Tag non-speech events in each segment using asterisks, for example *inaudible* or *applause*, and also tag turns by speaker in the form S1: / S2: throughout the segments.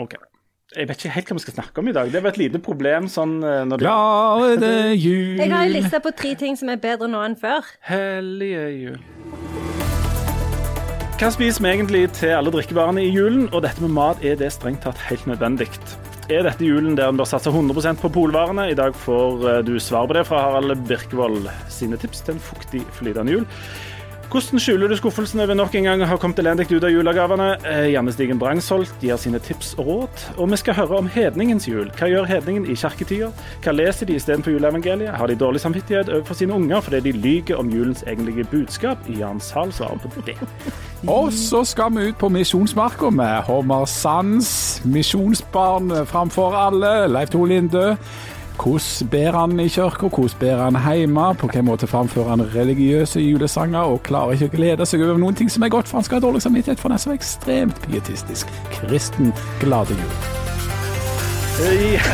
S1: Ok. Jeg vet ikke helt hva vi skal snakke om i dag. Det var et lite problem sånn eh, når det
S2: Ja, det er jul
S3: *laughs* Jeg
S4: Mm.
S3: har en liste på tre ting som er bedre nå enn før.
S1: Hellige jul. Hva spiser vi egentlig til alle drikkevarene i julen? Og dette med mat, er det strengt tatt helt nødvendig? Er dette julen der en bør satse 100 på polvarene? I dag får eh, du svar på det fra Harald Birkevold sine tips til en fuktig, flytende jul. Hvordan skjuler du skuffelsen over nok en gang har kommet elendig ut av julegavene? Eh, Janne Stigen Brangsholt gir sine tips og råd. Og vi skal høre om hedningens jul. Hva gjør hedningen i kirketida? Hva leser de istedenfor juleevangeliet? Har de dårlig samvittighet overfor sine unger fordi de lyver om julens egentlige budskap? Jan Sahl svarer på det.
S2: Og så skal vi ut på misjonsmarka med Håmar Sands, misjonsbarn framfor alle, Leif Tore Linde. Hvordan ber han i kirka, hvordan ber han hjemme, på hvilken måte framfører han religiøse julesanger og klarer ikke å glede seg over noen ting som er godt, for han skal ha dårlig samvittighet, for han er så ekstremt pietistisk. Kristen glade jul.
S1: Eh,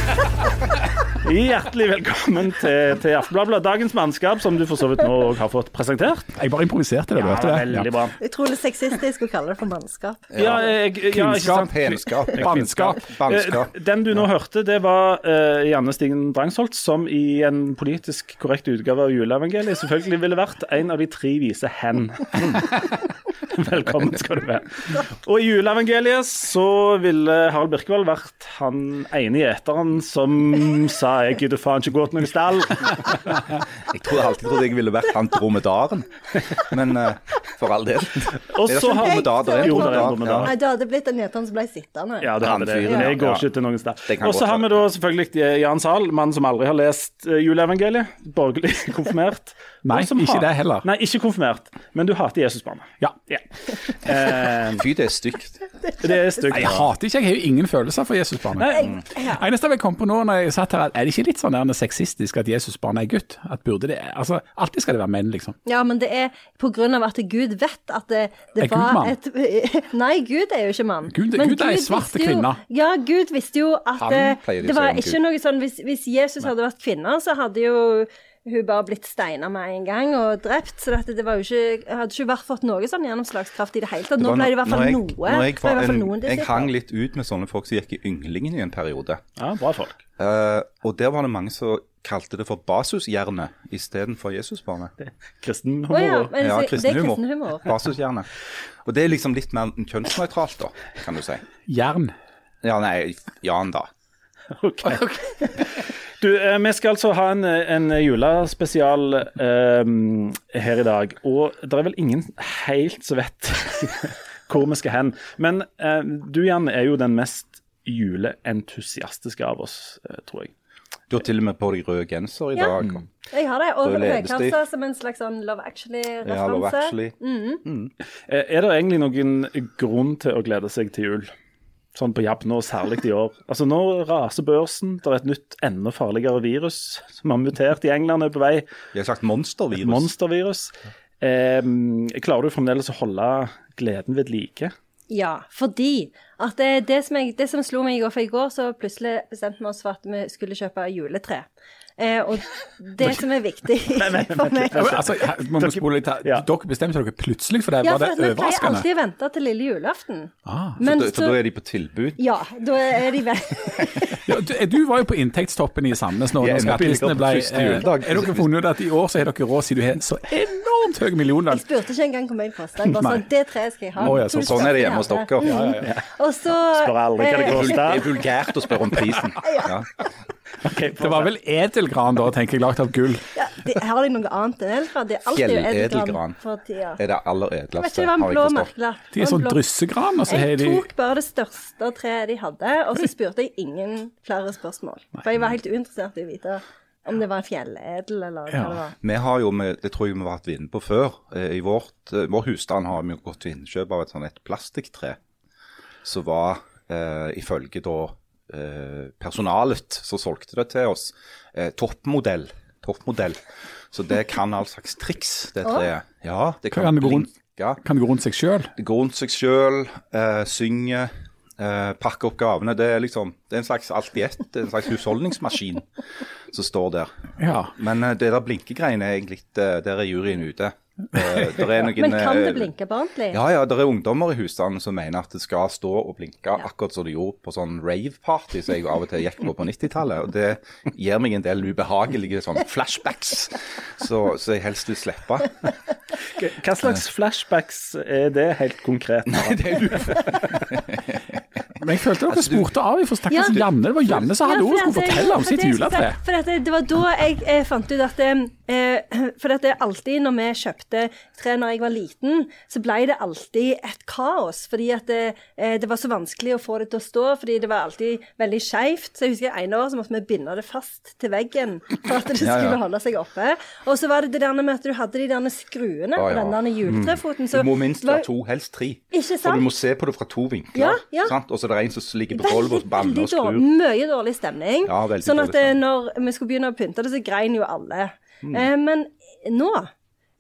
S1: Hjertelig velkommen til, til Aftenbladet. Dagens mannskap, som du for så vidt nå også har fått presentert.
S2: Jeg bare improviserte det, vet du det.
S1: veldig bra.
S3: Utrolig sexistisk å kalle det for mannskap.
S1: Ja, jeg, ja, ikke sant?
S4: Penskap.
S2: Bannskap.
S4: Bannskap.
S1: Eh, Den du nå hørte, det var eh, Janne Stigen Drangsholt, som i en politisk korrekt utgave av juleevangeliet selvfølgelig ville vært en av de tre vise hen. *laughs* Velkommen skal du være. Og i juleevangeliet så ville Harald Birkevold vært han ene gjeteren som sa 'jeg gidder faen ikke gå til noen stall'.
S4: Jeg trodde alltid trodde jeg ville vært han dromedaren, men eh, for all del.
S1: Og
S4: Er det
S1: så
S4: ikke en
S1: har
S4: dromedar? Det er en
S1: Jo, det er en
S4: dromedar,
S1: dromedar.
S4: ja.
S3: Nei, det hadde blitt en gjeter som ble sittende.
S1: Ja, det
S4: Han
S1: hadde det.
S4: fyren,
S1: Det går
S4: ja.
S1: ikke til noen sted.
S4: Det kan
S1: Og så
S4: godt
S1: har vi da
S4: være.
S1: selvfølgelig eh, Jan Sahl, mann som aldri har lest eh, juleevangeliet. Borgerlig *laughs* konfirmert.
S2: *laughs* Nei,
S1: Og som
S2: ikke
S1: hat-
S2: det heller.
S1: Nei, ikke konfirmert, men du hater Jesusbarnet.
S2: Ja.
S1: Ja. Eh,
S4: Fy, det er stygt.
S1: det er stygt.
S2: Jeg hater ikke, jeg har jo ingen følelser for Jesusbarnet.
S4: Mm.
S2: Eneste jeg kom på nå når jeg satt her, at er det ikke litt sånn der sexistisk at Jesusbarnet er gutt? At burde det, altså Alltid skal det være menn, liksom.
S3: Ja, men det er på grunn av at Gud vet at det,
S2: Er
S3: det
S2: Gud
S3: var
S2: mann?
S3: et *laughs* Nei, Gud er jo ikke mann.
S2: Gud-
S3: Men
S2: Gud er en svart
S3: visste jo-
S2: kvinne.
S3: Ja, Gud visste jo at
S4: Han
S3: eh,
S4: pleier de
S3: det
S4: å si
S3: var
S4: om
S3: ikke
S4: Gud.
S3: noe sånn Hvis, hvis Jesus hadde vært kvinne, så hadde jo hun bare blitt steina med en gang og drept. Så dette, det var jo ikke, hadde ikke vært fått noe sånn gjennomslagskraft i det hele tatt. Nå
S4: var
S3: ble det i hvert fall
S4: når jeg-
S3: noe.
S4: når jeg,
S3: Det ble i hvert fall
S4: en-
S3: noen
S4: jeg
S3: disipler.
S4: hang litt ut med sånne folk som gikk i Ynglingen i en periode.
S1: Ja, bra folk.
S4: Eh, og der var det mange som kalte det for Basushjerne istedenfor Jesusbarnet.
S1: Kristen
S3: Å ja,
S1: humor.
S3: men
S4: Ja,
S3: så- det er
S4: kristenhumor.
S3: kristen humor.
S4: Basushjerne. Og det er liksom litt mer kjønnsnøytralt, da, kan du si.
S2: Jern.
S4: Ja, nei, Jan, da.
S1: Ok. Du, eh, vi skal altså ha en, en julespesial eh, her i dag, og det er vel ingen helt som vet *laughs* hvor vi skal hen. Men eh, du, Jan, er jo den mest juleentusiastiske av oss, eh, tror jeg.
S4: Du har til og med på deg rød genser i
S3: Ja. Mm.
S4: dag.
S3: Jeg har det. Og
S4: Så ledes de.
S3: høykassa som en slags sånn Love Actually-referanse.
S4: Ja, Love Actually.
S3: Mm.
S1: Eh, er det egentlig noen grunn til å glede seg til jul? Sånn på jabb nå, særlig i år. Altså Nå raser børsen, det er et nytt, enda farligere virus som har mutert i England, er på vei.
S4: Jeg har sagt monstervirus.
S1: monstervirus. Eh, klarer du fremdeles å holde gleden ved like?
S3: Ja, fordi at det, det, som jeg, det som slo meg i går, for i går så plutselig bestemte vi oss for at vi skulle kjøpe juletre. Eh, og det som er viktig for meg
S2: Ja, men, altså, her, må vi spole litt her.
S1: Ja.
S2: Dere bestemte dere plutselig for det? Var
S3: Ja, for
S2: det
S3: at vi pleier
S2: overraskende?
S3: alltid å vente til lille julaften.
S2: Ah,
S4: For
S3: Men
S4: da- For da er de på tilbud.
S3: Ja, da er de vel *laughs*
S2: Ja, du, du var jo på inntektstoppen i Sandnes nå.
S4: Jeg
S2: når
S4: ender opp i
S2: skattelistene
S4: like
S2: ble,
S4: på første
S2: eh,
S4: juledag.
S2: er dere funnet ut at i år så har dere råd siden du har så enormt høy Altså, millionlønn?
S3: Jeg spurte ikke engang hvor mye det kosta. Jeg bare
S2: Nei.
S3: sa det treet skal jeg ha.
S2: Å ja, så-
S3: Du skal
S4: Sånn er det
S3: ikke
S4: hjemme hos
S3: ha det.
S4: dere. Ja, ja, ja.
S3: Og så
S1: Spør aldri hva det
S3: eh,
S4: Det er
S1: koster.
S4: vulgært å spørre om prisen. *laughs* Ja.
S1: Ok,
S2: Det var vel edelgran da, tenker jeg, lagd av gull.
S3: *laughs* ja, de, Har de noe annet enn eldre? Det er alltid jo
S4: Fjelledelgran.
S3: edelgran for tida.
S4: Er det aller
S3: Jeg vet
S4: edleste,
S3: ikke, det var en blå
S4: Altså, forstått.
S3: merkelapp.
S2: De er
S3: Og en
S2: sånn
S3: blå-
S2: dyssegran, og så har
S3: Jeg
S2: de
S3: tok bare det største treet de hadde, og så spurte jeg ingen flere spørsmål. For jeg var helt uinteressert i å vite om det var en fjelledel eller hva
S2: Ja.
S3: det var.
S4: Vi har jo, med, det tror jeg vi har vært inne på før, eh, i vårt, eh, vår husstand har vi jo gått til innkjøp av et sånn et plastikktre som var, eh, ifølge da eh, personalet som solgte det til oss, eh, toppmodell. Toppmodell. Så det kan all slags triks, det treet. Ja, det kan,
S2: Kan det gå rundt?
S4: blinke.
S2: kan gå rundt seg sjøl.
S4: Det går rundt seg sjøl, eh, synger, eh, pakker opp gavene. Det er liksom, det er en slags alt i ett, det er en slags husholdningsmaskin som står der.
S2: Ja.
S4: Men eh, det der blinkegreiene er egentlig, eh, der er juryen ute. Eh,
S3: *laughs*
S4: der er noen,
S3: Men kan
S4: eh,
S3: det blinke på ordentlig?
S4: Ja, ja, det er ungdommer i husstanden som mener at det skal stå og blinke akkurat som det gjorde på sånn rave-party som jeg av og til gikk på på 90-tallet. Og det gir meg en del ubehagelige sånn flashbacks så- som jeg helst vil slippe.
S1: Hva slags flashbacks er det helt konkret?
S4: *laughs* Det er uf-
S2: Men jeg følte dere spurte av. Jeg
S3: Ja.
S2: stakkars Janne. Det var Janne som hadde
S3: Ja, for
S2: ordet
S3: at
S2: og skulle
S3: jeg-
S2: fortelle om
S3: for
S2: sitt
S3: det jeg skulle
S2: juletre.
S3: si- For at det- det var da jeg eh, fant ut at eh, *clears throat* For at det alltid når vi kjøpte tre når jeg var liten, så ble det alltid et kaos. Fordi at det, eh, det var så vanskelig å få det til å stå, fordi det var alltid veldig skeivt. Så jeg husker en år så måtte vi binde det fast til veggen for at det skulle
S4: Ja, ja.
S3: holde seg oppe. Og så var det det der med at du hadde de der skruene
S4: Å,
S3: på
S4: ja. Mm.
S3: den der juletrefoten.
S4: Du
S3: så
S4: må minst
S3: var-
S4: være to, helst tre.
S3: Ikke
S4: For
S3: sant?
S4: du må se på det fra to vinkler.
S3: Ja, ja.
S4: Sant? Og så er det en som ligger på
S3: Veldig,
S4: gulvet og banner og
S3: veldig dårlig-
S4: skrur.
S3: Mye dårlig stemning.
S4: Ja, veldig
S3: sånn
S4: dårlig
S3: at eh, når vi skulle begynne å pynte det, så grein jo alle.
S4: Mm.
S3: Eh, men nå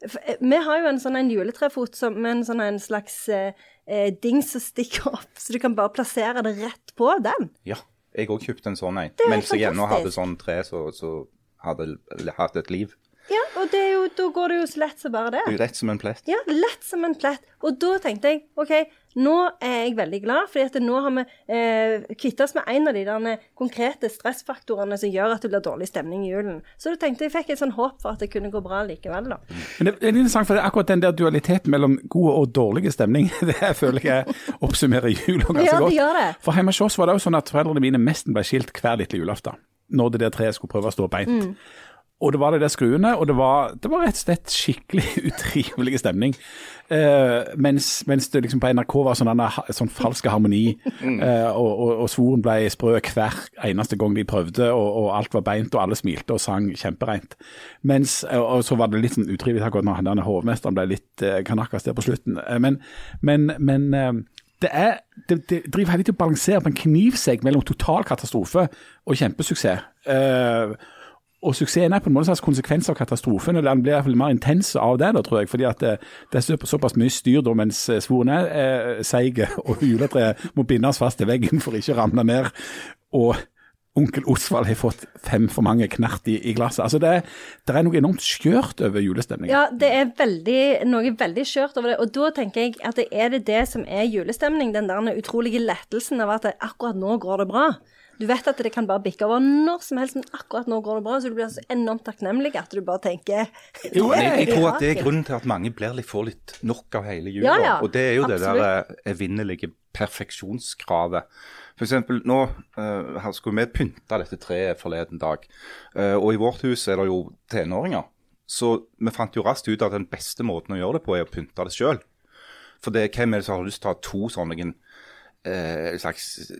S3: f- eh, Vi har jo en sånn en juletrefot som, med en sånn en slags eh, eh, dings som stikker opp, så du kan bare plassere det rett på den.
S4: Ja, jeg òg kjøpte en sånn en.
S3: er jo
S4: Mens jeg ennå hadde
S3: fantastisk.
S4: sånn tre som så, hadde l- hatt et liv.
S3: Ja, og det er jo, da går det jo så lett som bare det.
S4: Det er jo Rett som en plett.
S3: Ja, lett som en plett. Og da tenkte jeg OK, nå er jeg veldig glad, fordi at nå har vi eh, kvittet oss med en av de der konkrete stressfaktorene som gjør at det blir dårlig stemning i julen. Så da tenkte jeg fikk et sånn håp for at det kunne gå bra likevel, da.
S2: Men det er litt interessant, for det er akkurat den der dualiteten mellom god og dårlig stemning, *laughs* det her føler jeg oppsummerer jula ganske
S3: Ja, det
S2: godt.
S3: gjør det.
S2: For hjemme hos oss var det jo sånn at foreldrene mine nesten ble skilt hver lille julaften, når det der treet skulle prøve å stå
S3: Mm.
S2: beint. Og det var det der skruene, og det var, det var rett og slett skikkelig *laughs* utrivelig stemning. Eh, mens, mens det liksom på NRK var sånn, denne ha- sånn falsk harmoni, eh, og, og, og svoren ble sprø hver eneste gang de prøvde, og, og alt var beint, og alle smilte og sang kjempereint. Mens, og, og så var det litt sånn utrivelig akkurat når han denne hovmesteren ble litt eh, kanakkas der på slutten. Eh, men men, men eh, det, er, det, det driver hele tiden å balansere på en knivsegg mellom total katastrofe og kjempesuksess. Eh, og suksessen er på en måte en slags konsekvens av katastrofen, eller den blir i hvert fall mer intens av det, da, tror jeg. Fordi at det, det er så- såpass mye styr da, mens eh, svoren er eh, seig, *laughs* og juletreet må bindes fast til veggen for ikke å ramle ned. Og onkel Osvald har fått fem for mange knert i, i glasset. Altså det, er- det er noe enormt skjørt over julestemningen.
S3: Ja, det er veldig, noe veldig skjørt over det. Og da tenker jeg at det er det det som er julestemning. Den der utrolige lettelsen av at det, akkurat nå går det bra. Du vet at det kan bare bikke over når som helst, men akkurat nå går det bra. Så du blir så enormt takknemlig at du bare tenker
S2: Jo,
S4: Men
S3: *laughs*
S4: jeg, jeg tror at det er
S3: Mirakel.
S4: grunnen til at mange blir litt, får litt nok av hele jula.
S3: Ja, ja,
S4: og det er jo det
S3: absolutt.
S4: der eh, evinnelige perfeksjonskravet. For eksempel nå eh, her skulle vi pynte dette treet forleden dag. Eh, og i vårt hus er det jo tenåringer. Så vi fant jo raskt ut at den beste måten å gjøre det på, er å pynte det sjøl. For det, hvem er det som har lyst til å ha to sånne en, eh, slags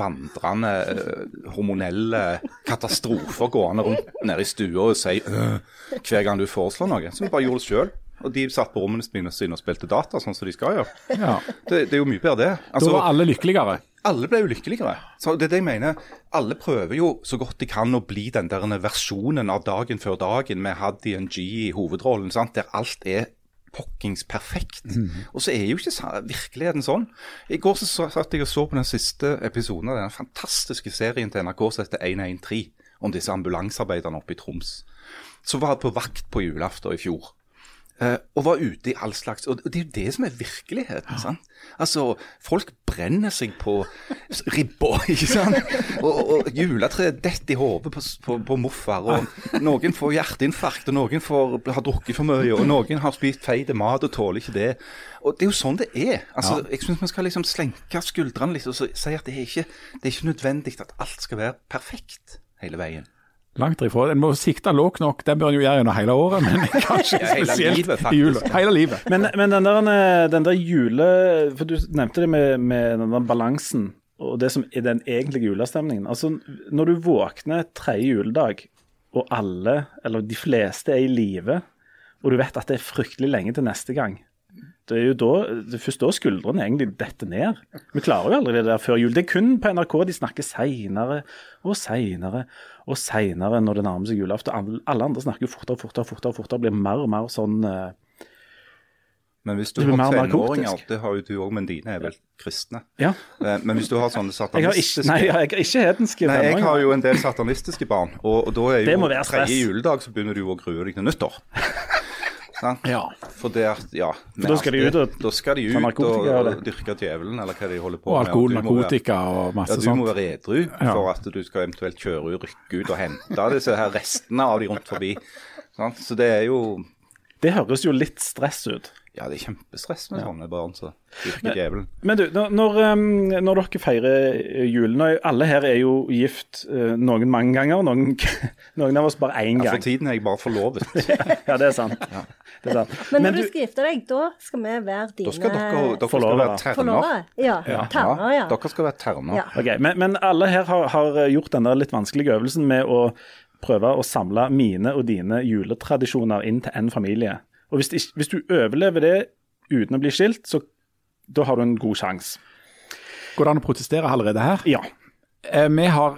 S4: vandrende eh, hormonelle katastrofer gående rundt nede i stua og si øh, hver gang du foreslår noe? Så vi bare gjorde det sjøl. Og de satt på rommene sine sine og spilte data, sånn som de skal gjøre.
S2: Ja.
S4: Det, det er jo mye bedre, det.
S2: Da
S4: Altså,
S2: var alle lykkeligere.
S4: alle ble jo lykkeligere. Så det er det jeg mener. Alle prøver jo så godt de kan å bli den der versjonen av dagen før dagen med Haddy and G i hovedrollen, sant? der alt er pokkings perfekt. Og så er jo ikke sa- virkeligheten sånn. I går så så- satt jeg og så på den siste episoden av den fantastiske serien til NRK som heter 113, om disse ambulansearbeiderne oppe i Troms. Som var på vakt på julaften i fjor. Eh, og var ute i all slags Og det er jo det som er virkeligheten. sant? Altså, folk brenner seg på s- ribba, *laughs* ikke sant? Og, og juletreet detter i hodet på, s- på, på morfar. Og noen får hjerteinfarkt, og noen får, har drukket for mye, og noen har spist feil mat og tåler ikke det. Og det er jo sånn det er. Altså, Jeg syns vi skal liksom slenke skuldrene litt og så si at det er ikke det er ikke nødvendig at alt skal være perfekt hele veien.
S2: Langt ifra. En må sikte lågt nok, den bør en jo gjøre gjennom hele året,
S4: *laughs*
S2: men kanskje
S4: Ja, hele
S2: spesielt
S4: livet, faktisk,
S2: i jula.
S4: ja.
S2: Hele livet.
S1: Men, men den, der, eh, den der jule... For du nevnte det med, med den der balansen og det som er den egentlige julestemningen. Altså, når du våkner tredje juledag, og alle, eller de fleste, er i live, og du vet at det er fryktelig lenge til neste gang det er jo da, det er først da skuldrene egentlig detter ned. Vi klarer jo aldri det der før jul. Det er kun på NRK de snakker seinere og seinere og seinere når det nærmer seg julaften. Alle- Alle andre snakker jo fortere og fortere og fortere, og fortere, blir mer og mer sånn eh,
S4: Men hvis du
S1: Det blir
S4: har
S1: mer og mer
S4: tenåringer,
S1: koktisk.
S4: det har jo du òg, men dine er vel kristne.
S1: Ja.
S4: Eh, Men hvis du har sånne
S1: *laughs* Jeg har ikke,
S4: satanistiske
S1: nei, jeg har ikke hedenske
S4: Nei, jeg
S1: tenåringer.
S4: har jo en del satanistiske barn, og, og da er
S1: Det
S4: jo
S1: må være stress. *laughs*
S4: tredje juledag så begynner du å grue deg til nyttår. sant?
S2: Ja.
S4: For det at, ja, men
S1: da skal de
S4: altså,
S1: ut og
S4: det- da skal de
S1: ta
S4: ut og,
S1: narkotika, eller?
S4: og dyrke djevelen, eller hva de holder på
S2: Og alkohol,
S4: Du må være-
S2: narkotika og
S4: Ja,
S2: masse
S4: du må
S2: sånt.
S4: være edru
S2: Ja.
S4: for at du skal eventuelt kjøre ut, rykke ut og hente disse her restene av de rundt forbi. Sant? Så det er jo
S1: Det høres jo litt stress ut.
S4: Ja, det er kjempestress med sånne barn som dyrker djevelen.
S1: Men du, når, når, ehm, når dere feirer julen og Alle her er jo gift eh, noen mange ganger, noen, *laughs* noen av oss bare én
S4: Ja,
S1: gang.
S4: for Altså, tiden er jeg bare
S1: *laughs*
S4: forlovet.
S1: Ja, det er
S4: *laughs*
S1: sant. Det er sant.
S3: Men når
S1: Men
S3: du
S1: du-
S3: skal gifte deg, da skal vi være dine
S4: Da skal dere, dere skal
S1: Forlovere.
S4: være terner.
S3: forlovere. Ja. Terner, ja.
S4: Dere skal være terner.
S3: Ja.
S1: Ok, men, men alle her har, har gjort denne litt vanskelige øvelsen med å prøve å samle mine og dine juletradisjoner inn til én familie. Og hvis, ikke- hvis du overlever det uten å bli skilt, så da har du en god sjanse.
S2: Går det an å protestere allerede her?
S1: Ja.
S2: Eh, vi har,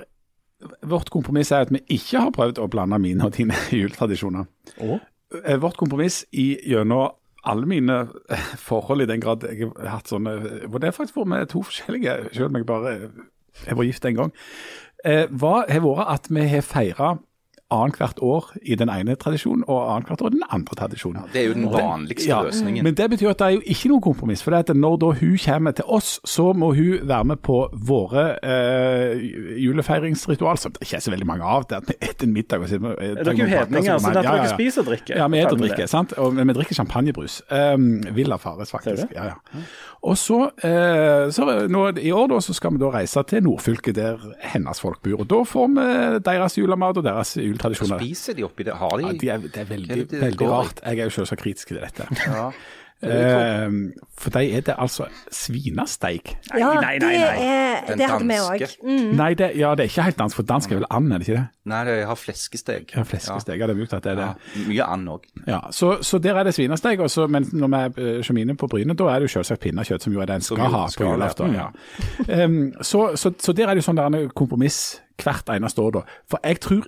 S2: vårt kompromiss er at vi ikke har prøvd å blande mine og dine *laughs* juletradisjoner. Eh, Vårt kompromiss i gjennom alle mine eh, forhold i den grad jeg har hatt sånne Og det er faktisk vært med to forskjellige, selv om jeg bare jeg var gift en gang. Eh, hva har vært at vi har feira annethvert år i den ene tradisjonen og annethvert år i den andre tradisjonen.
S4: Det er jo den vanligste
S2: Ja,
S4: løsningen.
S2: Men det betyr at det er jo ikke noe kompromiss. For det at når da hun kommer til oss, så må hun være med på våre eh, julefeiringsritual, som det ikke er så veldig mange av. Det er etter en middag og så-
S1: Er dere jo hedninger, så dere ikke spiser og drikker?
S2: Ja, vi
S1: Ferdig
S2: spiser og
S1: med
S2: drikker,
S1: det.
S2: sant? Og, men vi drikker champagnebrus. Um, Villa Fares,
S1: Ser
S2: faktisk.
S1: du?
S2: Ja, ja. Og så, eh, så nå, i år da, så skal vi da reise til nordfylket der hennes folk bor. Og da får vi eh, deres julemat og deres juletradisjoner.
S4: Spiser de oppi det? Har de
S2: Ja, de er, det er veldig,
S4: Hva er det det
S2: veldig
S4: går i?
S2: rart. Jeg er jo selvsagt kritisk til dette.
S4: Ja.
S2: *laughs* Ehm, for de er det altså svinesteik.
S3: ja
S1: Nei, nei, nei, nei.
S3: Det, er,
S4: Den
S3: det hadde vi
S4: danske.
S3: òg. Mm.
S2: Nei, det, ja, det er ikke helt dansk, for dansk er vel and, er det ikke det?
S4: Nei, de har fleskesteg.
S2: Ja, fleskesteg, ja. det er mulig at det er det.
S4: Ja, mye and òg.
S2: Ja, så, så der er det svinesteik, og så- men når vi er eh, sjamine på Bryne, da er det jo selvsagt pinnekjøtt, som jo er det en skal
S4: jo
S2: ha på
S4: skal, ja.
S2: julaften. Ja. *laughs* Ehm, så, så, så der er det jo sånn der en kompromiss hvert eneste år, da. For jeg tror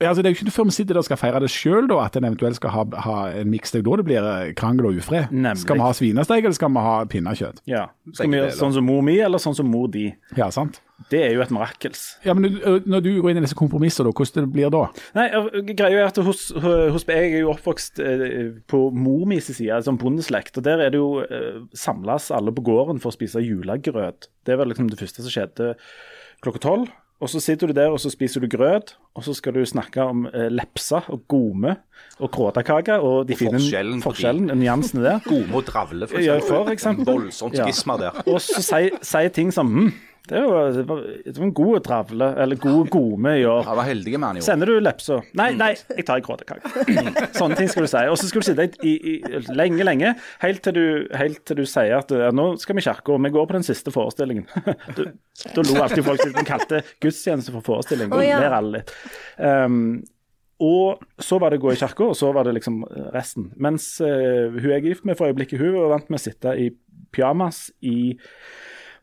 S2: Ja, altså Det er jo ikke før vi sitter der og skal feire det sjøl, at en eventuelt skal ha, ha en miksdeg. Da det blir eh, krangel og ufred.
S1: Nemlig.
S2: Skal vi ha svinesteik, eller skal vi ha pinnekjøtt?
S1: Ja. Skal vi
S4: Begge
S1: gjøre
S4: deler.
S1: sånn som mor mi, eller sånn som mor di?
S2: Ja, sant?
S1: Det er jo et mirakels.
S2: Ja, men ø, Når du går inn i disse kompromissene, da, hvordan det blir da?
S1: Nei, og greia er at hos, hos meg jeg er jo oppvokst eh, på mor mi sin side, som bondeslekt, og der er det jo eh, samles alle på gården for å spise julegrøt. Det var liksom det første som skjedde klokka tolv. Og så sitter du der og så spiser du grøt, og så skal du snakke om eh, lepse og gome og kråtakake og de fine
S4: forskjellen på de.
S1: forskjellen, nyansene der.
S4: *laughs* Gome og dravle, for
S1: Ja,
S4: eksempel.
S1: for eksempel.
S4: Voldsomt
S1: Ja.
S4: skisma der.
S1: Og så sier sier ting som hm, det var, det var det var en god travle, eller god gome i år.
S4: Han var heldige med han, jo.
S1: Sender du lepsa? Nei, nei, jeg tar en kråtekake. *clears throat* Sånne ting skal du si. Og så skal du sitte i, i, lenge, lenge, helt til du, helt til du sier at ja, nå skal vi i kirka, og vi går på den siste forestillingen. *laughs* Du, da lo alltid folk litt. De kalte gudstjeneste for forestilling. Da
S3: Å, ja.
S1: ler alle litt. Um, og så var det gå i kirka, og så var det liksom resten. Mens eh, hun jeg er gift med for øyeblikket, hun var vant med å sitte i pyjamas i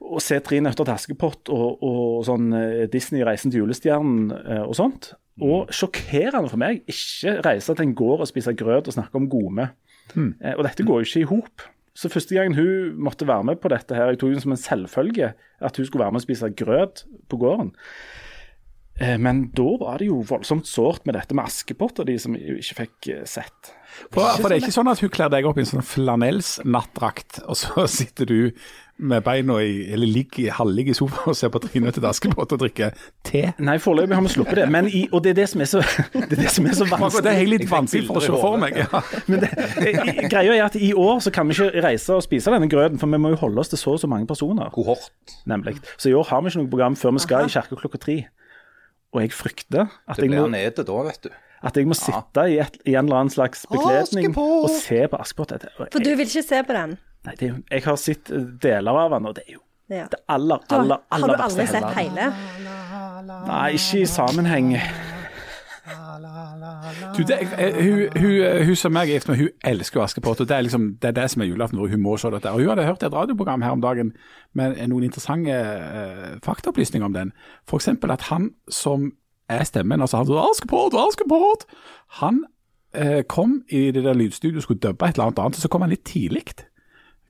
S1: og se Tre nøtter til Askepott og, og sånn eh, Disney Reisen til julestjernen eh, og sånt. Og sjokkerende for meg, ikke reise til en gård og spise grøt og snakke om gome. Eh, og dette går jo ikke i hop. Så første gangen hun måtte være med på dette her, jeg tok det som en selvfølge at hun skulle være med og spise grøt på gården. Eh, men da var det jo voldsomt sårt med dette med Askepott og de som jo ikke fikk eh, sett.
S2: For, for det er ikke sånn at hun kler deg opp i en sånn flanellsnattdrakt, og så *laughs* sitter du med beina i, eller ligger i- halvligger i sofaen og ser på Trine til Askepott og drikker te.
S1: Nei, foreløpig har vi sluppet det. Men i, og det er det som er så, *laughs* det er det som er så
S2: Det er
S1: vanskelig.
S2: egentlig
S4: Jeg
S2: litt
S4: fikk
S2: vanskelig for å
S4: bilder i
S2: se for
S4: hodet.
S2: meg. Ja.
S1: Men det, i- greia er at i år så kan vi ikke reise og spise denne grøten, for vi må jo holde oss til så og så mange personer.
S4: Kohort.
S1: nemlig. Så i år har vi ikke noe program før vi skal i kirka klokka tre. Og jeg frykter at
S4: Det
S1: jeg
S4: blir
S1: må,
S4: han nede da, vet du.
S1: at jeg må sitte i, et, i en eller annen slags bekledning
S4: Askepott!
S1: og se på Askepott. Jeg-
S3: For du vil ikke se på den?
S1: Nei, det er jo- Jeg har sett eh, deler av den, og det er jo
S3: Ja.
S1: det aller,
S3: Du har,
S1: aller,
S3: har
S1: aller
S3: du
S1: beste
S3: aldri
S1: i hele
S3: sett
S1: verden.
S3: hele?
S1: Nei, ikke i sammenheng.
S2: Du, det, eh, hun, hun, hun som jeg er gift med, hun elsker jo Askepott. og Det er liksom, det er det som er julaften hvor hun må se dette. Og Hun hadde hørt et radioprogram her om dagen med noen interessante eh, faktaopplysninger om den. F.eks. at han som er stemmen, altså han som Askepott, Askepott, han eh, kom i det der lydstudioet og skulle dubbe et eller annet annet, og så kom han litt tidlig.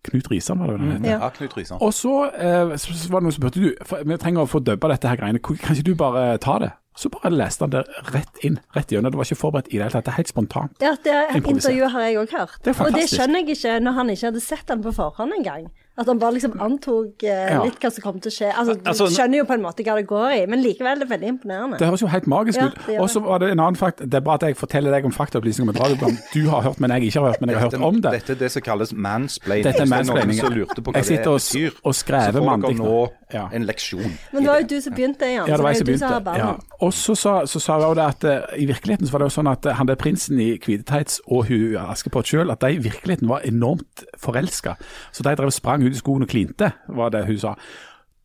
S2: Knut Risan var det vel han het.
S3: Ja.
S4: Ja, Knut Risan.
S2: Og så, eh, så så var det noen som spurte du, for, vi trenger å få dubba dette her greiene, Hvor- kan ikke du bare ta det? Så bare leste han det rett inn, rett gjennom. Det var ikke forberedt i det hele tatt. Det er helt spontant.
S3: Ja, det eh,
S2: Improvisert.
S3: intervjuet har jeg òg hørt.
S2: Det er
S3: og det
S2: fantastisk.
S3: skjønner jeg ikke når han ikke hadde sett den på forhånd engang. At han bare liksom antok eh,
S2: Ja.
S3: litt hva som kom til å skje. Altså, Du
S1: Altså,
S3: skjønner jo på en måte hva det går i, men likevel det er veldig imponerende.
S2: Det høres jo helt magisk
S3: Ja,
S2: ut.
S3: det gjør det.
S2: Og så var det en annen fakta. Det er bare at jeg forteller deg om faktaopplysninger om et radioprogram du har hørt, men jeg ikke har hørt, men jeg har hørt om det.
S4: Dette er det som kalles mansplaining.
S2: Dette er
S4: Hvis
S2: mansplaining,
S4: Det er
S2: ja.
S4: noen som lurte på hva
S2: Jeg sitter
S4: det
S2: og-
S4: betyr,
S2: og skrever
S4: så får
S2: mannlig
S4: dere
S2: nå.
S4: nå
S2: Ja.
S4: en leksjon.
S3: Men det var jo du som begynte, Jan.
S2: Ja, Altså, det var jeg
S3: så
S2: som
S3: det er jo du som har
S2: begynte. Ja.
S3: ballen.
S2: Og så sa, så sa jeg jo det at eh, i virkeligheten så var det jo sånn at eh, han der prinsen i hvite tights og hun Askepott sjøl, at de i virkeligheten var enormt forelska. Så de drev og sprang ut i skogen og klinte, var det hun sa.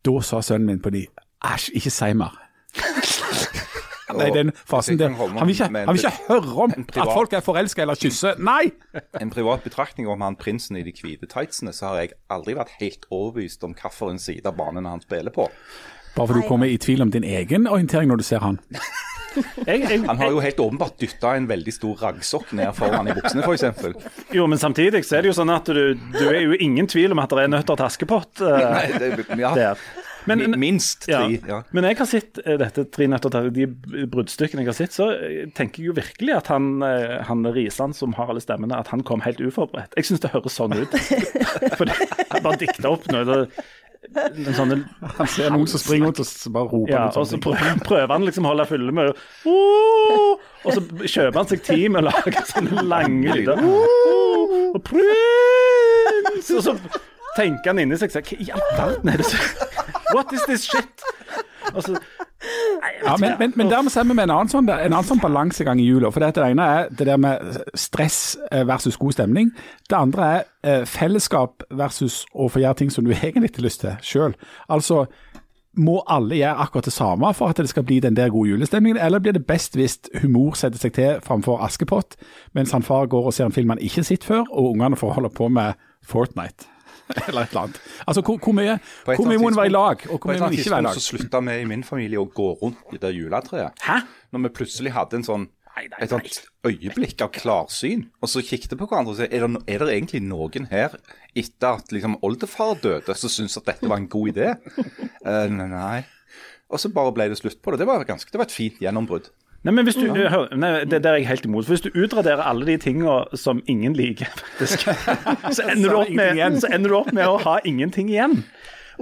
S2: Da sa sønnen min på ny, æsj, ikke si mer. Nei, den fasen der. Han vil ikke, han vil ikke høre om at folk er forelska eller kysser. Nei!
S4: En privat betraktning om han prinsen i de hvite tightsene, så har jeg aldri vært helt overbevist om hvilken side av banen han spiller på.
S2: Bare for du kommer i tvil om din egen orientering når du ser han.
S1: Jeg, jeg,
S4: Han har jo helt åpenbart dytta en veldig stor raggsokk ned foran i buksene, f.eks.
S1: jo, men samtidig så er det jo sånn at du, du er jo ingen tvil om at det er nøtter til Askepott
S4: *laughs*
S1: eh,
S4: Ja,
S1: der. Men,
S4: mi- minst
S1: ja.
S4: tre. Ja.
S1: men jeg har sett eh, dette tre nøtter til de bruddstykkene jeg har sett, så eh, tenker jeg jo virkelig at han, eh, han Risan som har alle stemmene, at han kom helt uforberedt. Jeg syns det høres sånn ut. *laughs* For det, han bare dikta opp noe. Det, en sånn
S2: Han ser noen som springer rundt og s- bare roper.
S1: Ja,
S2: litt
S1: og så
S2: sånn ting. *laughs*
S1: prøver, prøver han liksom å holde fulle med «Åh!» Og så kjøper han seg tid med å lage sånne lange lyder. «Åh!» Og prins! Og så tenker han inni seg selv Hva i all verden er det som What is this shit? Og så,
S2: Ja, men, men, men dermed ser vi med en annen sånn, en annen sånn balansegang i jula. For det, at det ene er det der med stress eh, versus god stemning. Det andre er eh, fellesskap versus å få gjøre ting som du *laughs* egentlig ikke har lyst til sjøl. Altså, må alle gjøre akkurat det samme for at det skal bli den der gode julestemningen, eller blir det best hvis humor setter seg til framfor Askepott, mens han far går og ser en film han ikke har sett før, og ungene får holde på med Fortnite? *laughs* Eller et eller annet. Altså, hvor, hvor mye,
S4: På et
S2: hvor mye
S4: eller
S2: må en
S4: annet
S2: være i lag, og
S4: På
S2: hvor
S4: et
S2: mye må
S4: eller annet
S2: en ikke være i lag?
S4: tidspunkt så slutta vi i min familie å gå rundt i det juletreet.
S1: Hæ?
S4: Når vi plutselig hadde en sånn et sånt øyeblikk av klarsyn, og så kikket vi på hverandre og sa er, det no- er det egentlig noen her etter at liksom oldefar døde, som syntes at dette var en god idé? *laughs* Eh, nei. Og så bare ble det slutt på det. Det var, ganske, det var et fint gjennombrudd.
S1: Nei, men hvis du, hør, nei, det der er jeg helt imot. For hvis du utraderer alle de tinga som ingen liker, faktisk, *laughs* så, ender du opp med, så ender du opp med å ha ingenting igjen.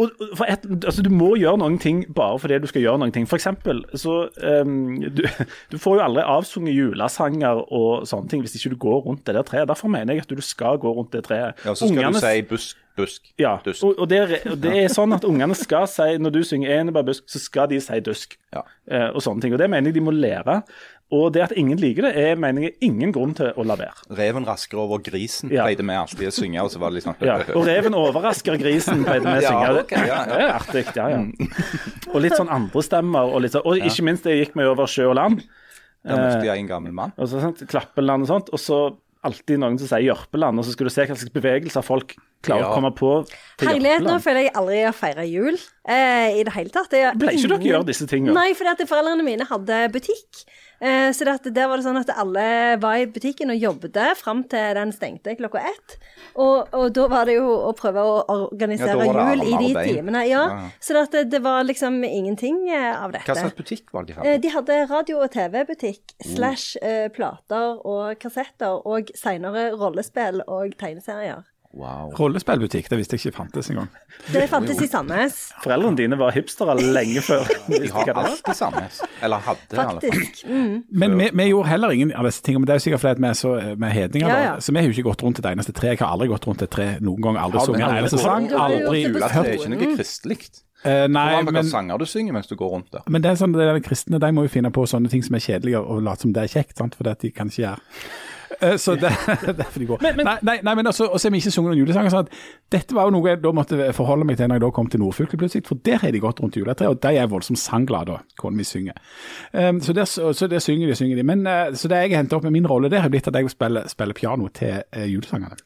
S1: Og, og for et, altså, du må gjøre noen ting bare fordi du skal gjøre noen ting. For eksempel, så ehm, du, du får jo aldri avsunget julesanger og sånne ting hvis ikke du går rundt det der treet. Derfor mener jeg at du skal gå rundt det treet.
S4: Ja, og så skal
S1: Ungene-
S4: du si busk, busk,
S1: ja,
S4: dusk.
S1: og, og, det, er- og det er sånn at ungene skal si Når du synger 'Enebær busk', så skal de si 'dusk'.
S4: Ja.
S1: Eh, og sånne ting. Og det mener jeg de må lære. Og det at ingen liker det, er mener jeg ingen grunn til å la være.
S4: Reven raskere over grisen
S1: Ja.
S4: pleide vi alltid å synge, og så var det liksom
S1: Ja.
S4: *laughs*
S1: Og reven overrasker grisen, pleide vi å
S4: Ja,
S1: synge.
S4: ok, ja, ja.
S1: Det er artig. Ja, ja. Og litt sånn andre stemmer. Og, litt sånn, og ikke minst det gikk meg over sjø og land.
S4: Da møtte jeg en gammel mann.
S1: Og så, sant? Klappeland og sånt. Og så alltid noen som sier Jørpeland, og så skal du se hva slags bevegelser folk klarer å
S4: Ja.
S1: komme på. til
S3: Herlighet, nå
S1: Jørpeland.
S3: føler jeg aldri jeg har feira jul eh, i det hele tatt. Jeg har
S1: Ble ikke dere
S3: ingen-
S1: gjøre disse tingene?
S3: Nei, fordi at foreldrene mine hadde butikk. Eh, så det at der var det sånn at alle var i butikken og jobbet fram til den stengte klokka ett. Og, og da var det jo å prøve å
S4: Ja,
S3: organisere
S4: da var det
S3: jul i de
S4: arbeid.
S3: timene. Ja,
S4: Ja, ja.
S3: Så det, at det, det var liksom ingenting eh, av dette.
S4: Hva slags butikk var det de
S3: Eh,
S4: hadde?
S3: De hadde radio- og TV-butikk slash eh, plater og kassetter, og seinere rollespill og tegneserier.
S4: Wow.
S2: Rollespillbutikk, det visste jeg ikke fantes engang.
S3: Det fantes i Sandnes,
S1: Foreldrene dine var hipstere lenge før.
S4: De har alt det samme. Eller hadde, i alle fall.
S3: faktisk. Mm.
S2: Men vi, vi gjorde heller ingen av disse tingene, men det er jo sikkert fordi at vi er så eh, vi er hedninger,
S3: Ja,
S2: da.
S3: ja.
S2: Så vi har jo ikke gått rundt et eneste tre. Jeg har aldri gått rundt et tre noen gang, aldri
S4: Har du-
S2: sunget en
S4: har du-
S2: eneste sang.
S3: Du har
S2: Aldri
S3: jo gjort det på
S4: Juletre
S2: julehørt.
S4: er ikke noe kristelig.
S2: Eh,
S4: Hvor
S2: nei,
S4: mange
S2: men,
S4: sanger du synger mens du går rundt der?
S2: men det er sånn, det er de kristne de må jo finne på sånne ting som er kjedelige, og late som det er kjekt, sant? for det at de kan ikke gjøre. Eh, Så det, *laughs* det er derfor de går. nei, nei, nei, men også, også har vi ikke sunget noen julesanger. sånn at Dette var jo noe jeg da måtte forholde meg til når jeg da kom til Nordfylket plutselig, for der har de gått rundt juletreet, og de er voldsomt sangglade, og kona mi synger. Um, så, der, så, så der synger de, synger de. Men, eh, så det jeg henter opp med min rolle, det har blitt at jeg spiller, spiller piano til eh, julesangene.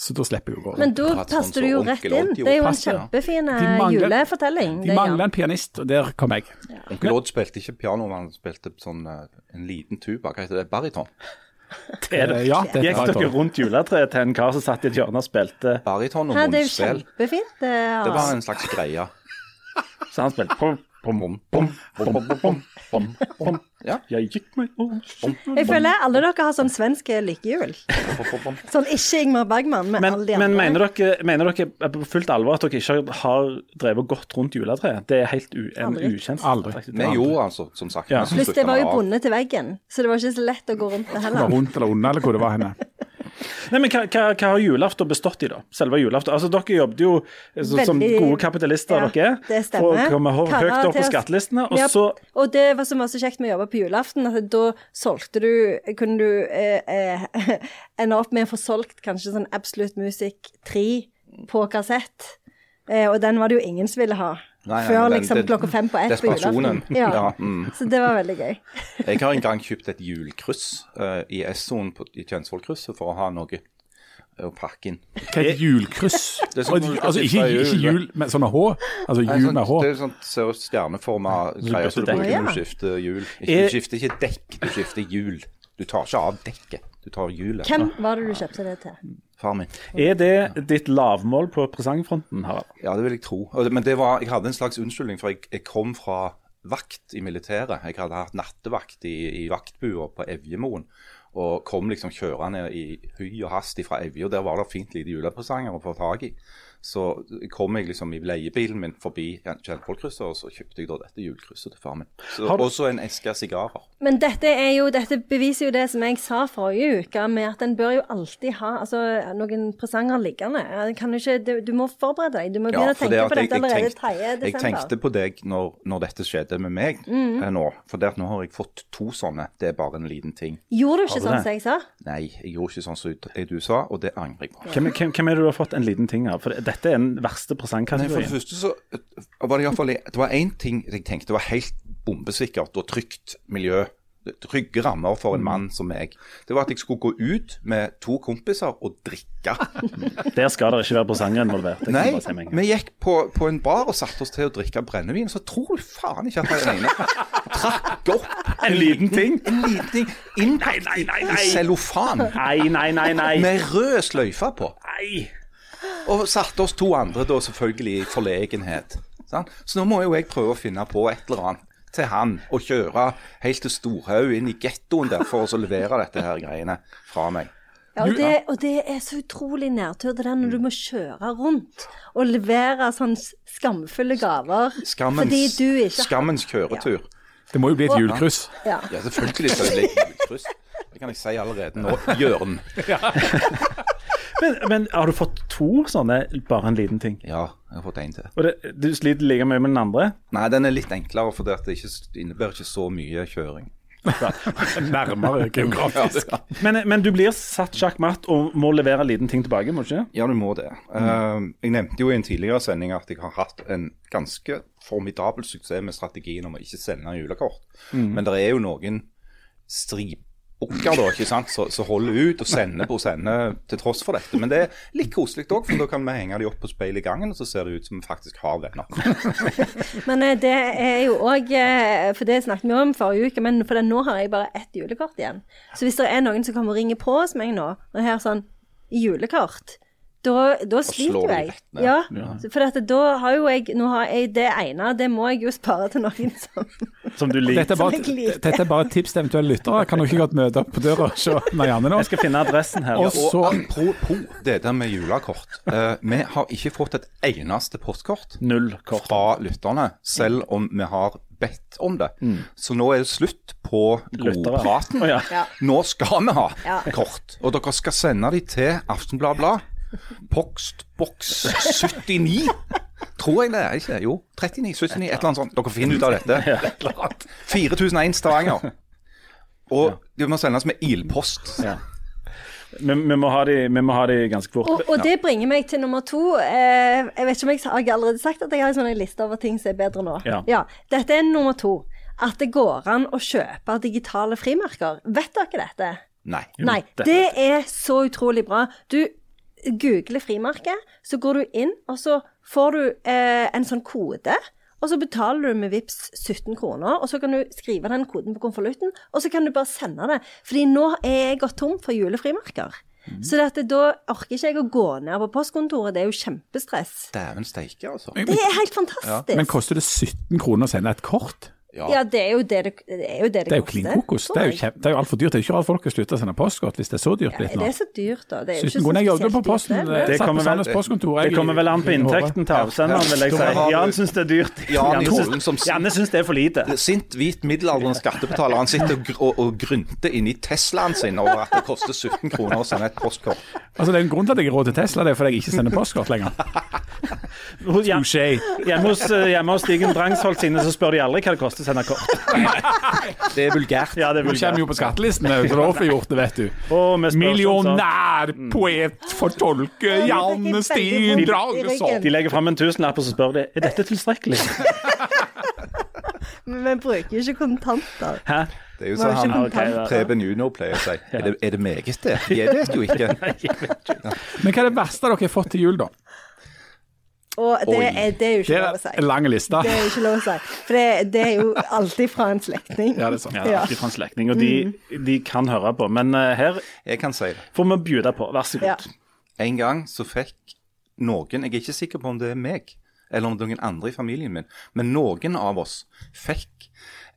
S2: Så da slipper jeg å gå.
S3: Men da
S4: Akkurat sånn
S3: passet
S4: som
S3: du jo
S4: onkel
S3: rett inn.
S4: Odd
S3: Det er jo en
S2: passer, ja.
S3: kjempefin eh,
S2: De mangler-
S3: julefortelling.
S2: de
S3: det, ja.
S2: mangler en pianist, og der kom jeg.
S4: Onkel Odd spilte ikke piano, men han spilte sånn eh, en liten tuba. Hva heter det? Bariton?
S1: Er det-
S2: Eh, ja, det er
S1: Gikk
S2: et
S1: dere
S2: par.
S1: rundt juletreet til en kar som satt i et hjørne og spilte,
S4: Bariton og
S3: Hæ, det er jo
S4: munnspill.
S3: kjempefint. Det, altså.
S4: Det
S3: ja.
S4: var en slags greie.
S1: så han spilte pom, pom, pom, pom, pom, pom, pom. Bom, bom.
S4: Ja.
S1: Jeg gikk meg over
S3: Jeg føler alle dere har sånn svensk lykkehjul.
S4: bom.
S3: Sånn ikke Ingmar Bergman, men,
S1: Men,
S3: alle de andre.
S1: men mener, dere, mener dere er på fullt alvor at dere ikke har drevet godt rundt juletreet? Det er helt u, en
S3: Aldri.
S1: ukjent
S2: Aldri.
S1: faktisk.
S4: Vi gjorde altså, som sagt.
S1: Ja.
S4: men så
S3: Pluss det
S4: slutta
S3: var
S4: vi
S3: jo
S4: av.
S3: bundet til veggen, så det var ikke så lett å gå rundt det
S2: Det var
S3: heller.
S2: rundt eller under, eller hvor det var henne.
S1: Nei, men hva, hva, hva har julaften bestått i, da? Selve julaften? Altså, dere jobbet jo eh, så, som
S3: Veldig-
S1: gode kapitalister,
S3: Ja,
S1: dere er.
S3: det stemmer.
S1: For å komme hø-
S3: Karer
S1: høyt opp
S3: til
S1: på
S3: oss.
S1: skattelistene. Og
S3: Ja,
S1: så
S3: og det var så masse kjekt med å jobbe på julaften, at da solgte du Kunne du eh, eh, *laughs* ende opp med å få solgt kanskje sånn Absolute Music 3 på kassett. Eh, og den var det jo ingen som ville ha.
S4: Nei, nei,
S3: Før
S4: men den-
S3: liksom
S4: den-
S3: klokka fem på ett på julaften.
S4: desperasjonen.
S3: Ja.
S4: Ja, mm.
S3: Så det var veldig gøy.
S4: Jeg har en gang kjøpt et hjulkryss eh, i S-sonen på- i Tønsvollkrysset for å ha noe eh, å pakke inn.
S2: Hva er et julkryss?
S4: er sånn
S2: Og- Altså ikke,
S4: du skal
S2: ikke
S4: skifte hjul.
S2: jul, men sånne H? Altså
S4: Nei,
S2: jul
S4: sånn-
S2: med H?
S4: Det er sånn ser ut stjerneforma greier som du
S1: bytter
S4: bruker
S3: dekk.
S4: når du skifter hjul. Ikke,
S1: Er-
S4: du skifter ikke dekk, du skifter hjul. Du tar ikke av dekket, du tar hjulet.
S3: Hvem var det du kjøpte det til?
S4: Far min.
S1: er det ditt lavmål på presangfronten, Harald.
S4: Ja, det vil jeg tro. Og det- Men det var, jeg hadde en slags unnskyldning, for jeg, jeg kom fra vakt i militæret. Jeg hadde hatt nattevakt i, i vaktbua på Evjemoen. Og kom liksom kjørende i høy og hast fra Evje, og der var det fint lite julepresanger å få tak i. Så kom jeg liksom i leiebilen min forbi Kjellvollkrysset, og så kjøpte jeg da dette julekrysset til far min. Så,
S1: Har du-
S4: også en eske sigarer.
S3: Men dette, er jo, dette beviser jo det som jeg sa forrige uke, med at en bør jo alltid ha altså, noen presanger liggende. En Kan jo ikke, du, du må forberede deg. Du må begynne å
S4: for det
S3: tenke
S4: at
S3: på dette allerede
S4: tenkte-
S3: 3. desember. Mm.
S4: Jeg tenkte på deg når, når dette skjedde med meg eh, nå. For det at nå har jeg fått to sånne. Det er bare en liten ting.
S3: Gjorde du ikke
S1: du
S3: sånn
S1: det?
S3: som jeg sa?
S4: Nei, jeg gjorde ikke sånn som du- du sa, og det angrer jeg på.
S1: Hvem, hvem, hvem er det du har fått en liten ting av? For dette er den verste
S4: Nei, for det
S1: presangkategorien.
S4: første så eh, var det iallfall Det var én ting jeg tenkte var helt bombesikkert og trygt miljø. Trygge rammer for en mann som meg. Det var at jeg skulle gå ut med to kompiser og
S1: *laughs*
S4: drikke.
S1: Der skal det ikke være presanger involvert. det kan jeg
S4: Nei,
S1: bare si med en gang.
S4: vi gikk på, på en bar og satte oss til å drikke brennevin, så tror du faen ikke at den ene trakk opp
S1: En liten ting?
S4: En liten ting innpakket
S1: Nei, nei, nei,
S4: i
S1: nei.
S4: cellofan
S1: Nei, nei, nei, nei.
S4: med rød sløyfe på.
S1: nei.
S4: Og satte oss to andre da selvfølgelig i forlegenhet. Sant? Så nå må jo jeg prøve å finne på et eller annet til han, og kjøre helt til Storhaug inn i gettoen der for å så levere dette her greiene fra meg.
S3: Ja, og, det, og det er så utrolig nedtur, det der når du må kjøre rundt og levere sånn s- skamfulle gaver
S4: Skammens,
S3: fordi du ikke
S4: skammens kjøretur.
S2: Det må jo bli et julekryss.
S3: Ja.
S4: Ja, selvfølgelig skal det bli utkryss. Det kan jeg si allerede nå. Jørn.
S1: Men, men har du fått to sånne, bare en liten ting?
S4: Ja, jeg har fått en til.
S1: Og det, du sliter like mye med den andre?
S4: Nei, den er litt enklere, for det at det ikke, innebærer ikke så mye kjøring.
S2: Nærmere geografisk.
S1: Men, men du blir satt sjakk matt og må levere en liten ting tilbake, må du ikke?
S4: Ja, du må det. Eh, jeg nevnte jo i en tidligere sending at jeg har hatt en ganske formidabel suksess med strategien om å ikke sende julekort. Men det er jo noen stribukker da, ikke sant, som som holder ut og sender på og sender til tross for dette. Men det er litt koselig òg, for da kan vi henge de opp på speilet i gangen, og så ser det ut som vi faktisk har venner.
S3: Men eh, det er jo òg eh, For det snakket vi om forrige uke, men for det, nå har jeg bare ett julekort igjen. Så hvis det er noen som kommer og ringer på hos meg nå, og har sånn julekort, da, da
S4: slår
S3: sliter
S4: du
S3: jeg.
S4: rett ned.
S3: Ja, for at, da har jo jeg Nå har jeg det ene, det må jeg jo spare til noen *laughs* som
S1: Som du liker.
S2: Dette er, bare,
S3: Som jeg liker.
S2: dette er bare et tips til eventuelle lyttere. Kan du ikke godt møte opp på døra og se Marianne nå?
S1: Jeg skal finne adressen her.
S2: Og
S4: Og
S2: så
S4: apropos det der med julekort. eh, vi har ikke fått et eneste postkort.
S1: Null kort.
S4: fra lytterne, selv om vi har bedt om det. Så nå er det slutt på
S1: Mm. Lyttere.
S4: godpraten.
S1: Å, ja.
S3: Ja.
S4: Nå skal vi ha
S3: Ja.
S4: kort. Og dere skal sende de til Aftenblad Blad. Postboks 79, tror jeg det er. ikke det? Jo, 39, 79, et eller annet sånt. Dere finner ut av dette. 4001 Stavanger. Og de må sendes med ilpost.
S1: Ja. Vi, vi, må ha de, vi må ha de ganske fort.
S3: Og, og det bringer meg til nummer to. Eh, jeg vet ikke om jeg har jeg allerede sagt at jeg har en sånn liste over ting som er bedre nå.
S1: Ja.
S3: Dette er nummer to. At det går an å kjøpe digitale frimerker. Vet dere dette?
S4: Nei.
S3: Nei,
S1: det-
S3: det er så utrolig bra. Du googler frimerke, så går du inn, og så får du eh, en sånn kode. Og så betaler du med VIPS 17 kroner, og så kan du skrive den koden på konvolutten, og så kan du bare sende det. Fordi nå er jeg gått tom for julefrimerker.
S2: Mhm.
S3: Så dette, da orker ikke jeg å gå ned på postkontoret, det er jo kjempestress.
S4: Dæven steike, altså.
S3: Det er helt fantastisk.
S2: Men koster det 17 kroner å sende et kort?
S4: Ja.
S3: Ja, det er jo det det, det, er jo det, det,
S2: Det er jo
S3: koster,
S2: klin kokos.
S3: tror
S2: Det er jo,
S3: jeg.
S2: kjem- det er jo altfor dyrt. Det er jo ikke rart folk har slutta å sende postkort hvis det er så dyrt blitt nå.
S3: Er det så dyrt, da? Det er jo ikke
S2: Sytten kroner. Jeg
S3: så
S2: jobbet på
S3: spesielt dyrt,
S2: posten.
S3: det, men-
S2: eh,
S1: Det
S2: satt på
S1: kommer vel-
S2: Sandnes postkontor.
S1: Det
S2: jeg-
S1: kommer vel an på
S2: i- i Håvet.
S1: inntekten til avsenderen, vil jeg si.
S4: Ja. Da har du-
S1: Jan syns det er dyrt.
S4: Jan i
S1: syns-
S4: Holden som sier-
S1: Janne syns det er for lite.
S4: Sint, hvit, middelaldrende skattebetaler. Han sitter og, gr- og, og grynter inni Teslaen sin over at det koster 17 kroner å sende et postkort.
S2: Altså, det er en grunn til at jeg har råd til Tesla, det er fordi jeg ikke sender postkort lenger.
S1: Hos- Jan-
S2: Touché.
S1: Hjemme hos, eh, hjemme hos Stigen Drangsholt sine så spør de aldri hva det koster å sende kort.
S4: Det er vulgært.
S1: Ja, det
S2: Du
S1: vil
S2: kommer jo på skattelisten, så det er offentliggjort, det vet du.
S1: Og vi spør sånn som-
S2: Millionærpoet, fortolker Janne Stien Dragesson.
S1: De legger fram en tusenlapp og så spør de er dette *laughs* tilstrekkelig.
S3: Men vi bruker jo ikke kontanter.
S1: Hæ?
S4: Det er jo
S3: Vi har jo ikke
S4: sånn han
S1: ok, da.
S3: kontanter.
S4: Preben Junior pleier å si. Er det, er det meget, det? Jeg vet jo ikke.
S2: Men hva er det verste dere har fått til jul, da?
S3: Og det
S4: Oi.
S3: er, det er jo
S2: Det
S3: ikke lov
S2: er
S3: å si.
S2: en lang liste.
S3: Det er jo ikke lov å si. For det, det er jo alltid fra en slektning.
S2: Ja, det er sant.
S1: Ja, det er alltid fra en slektning, og de,
S3: Mm.
S1: de kan høre på. Men eh, her
S4: Jeg kan si det.
S1: får vi bjuda på. Vær så god.
S3: Ja. *laughs*
S4: En gang så fikk noen, jeg er ikke sikker på om det er meg, eller om det er noen andre i familien min, men noen av oss fikk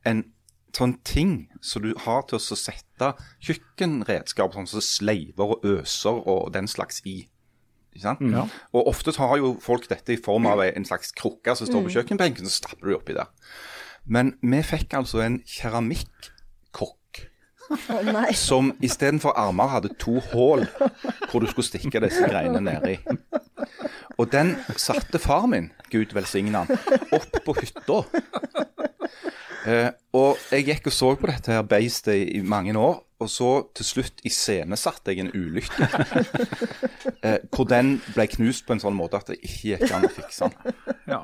S4: en sånn ting som du har til å sette kjøkkenredskap, sånn som sleiver og øser og den slags i. Ikke sant?
S2: Ja.
S4: Og ofte så har jo folk dette i form av en slags krukke som står på kjøkkenbenken, så stapper du oppi der. Men vi fikk altså en keramikkrukk
S3: Å, nei.
S4: *laughs* som istedenfor armer hadde to hull hvor du skulle stikke disse greiene nedi. Og den satte far min, gud velsigne han, opp på hytta. Eh, og jeg gikk og så på dette her beistet i, i mange år, og så til slutt iscenesatte jeg en ulykke. *laughs* eh, hvor den ble knust på en sånn måte at det ikke gikk an å fikse den.
S2: Ja.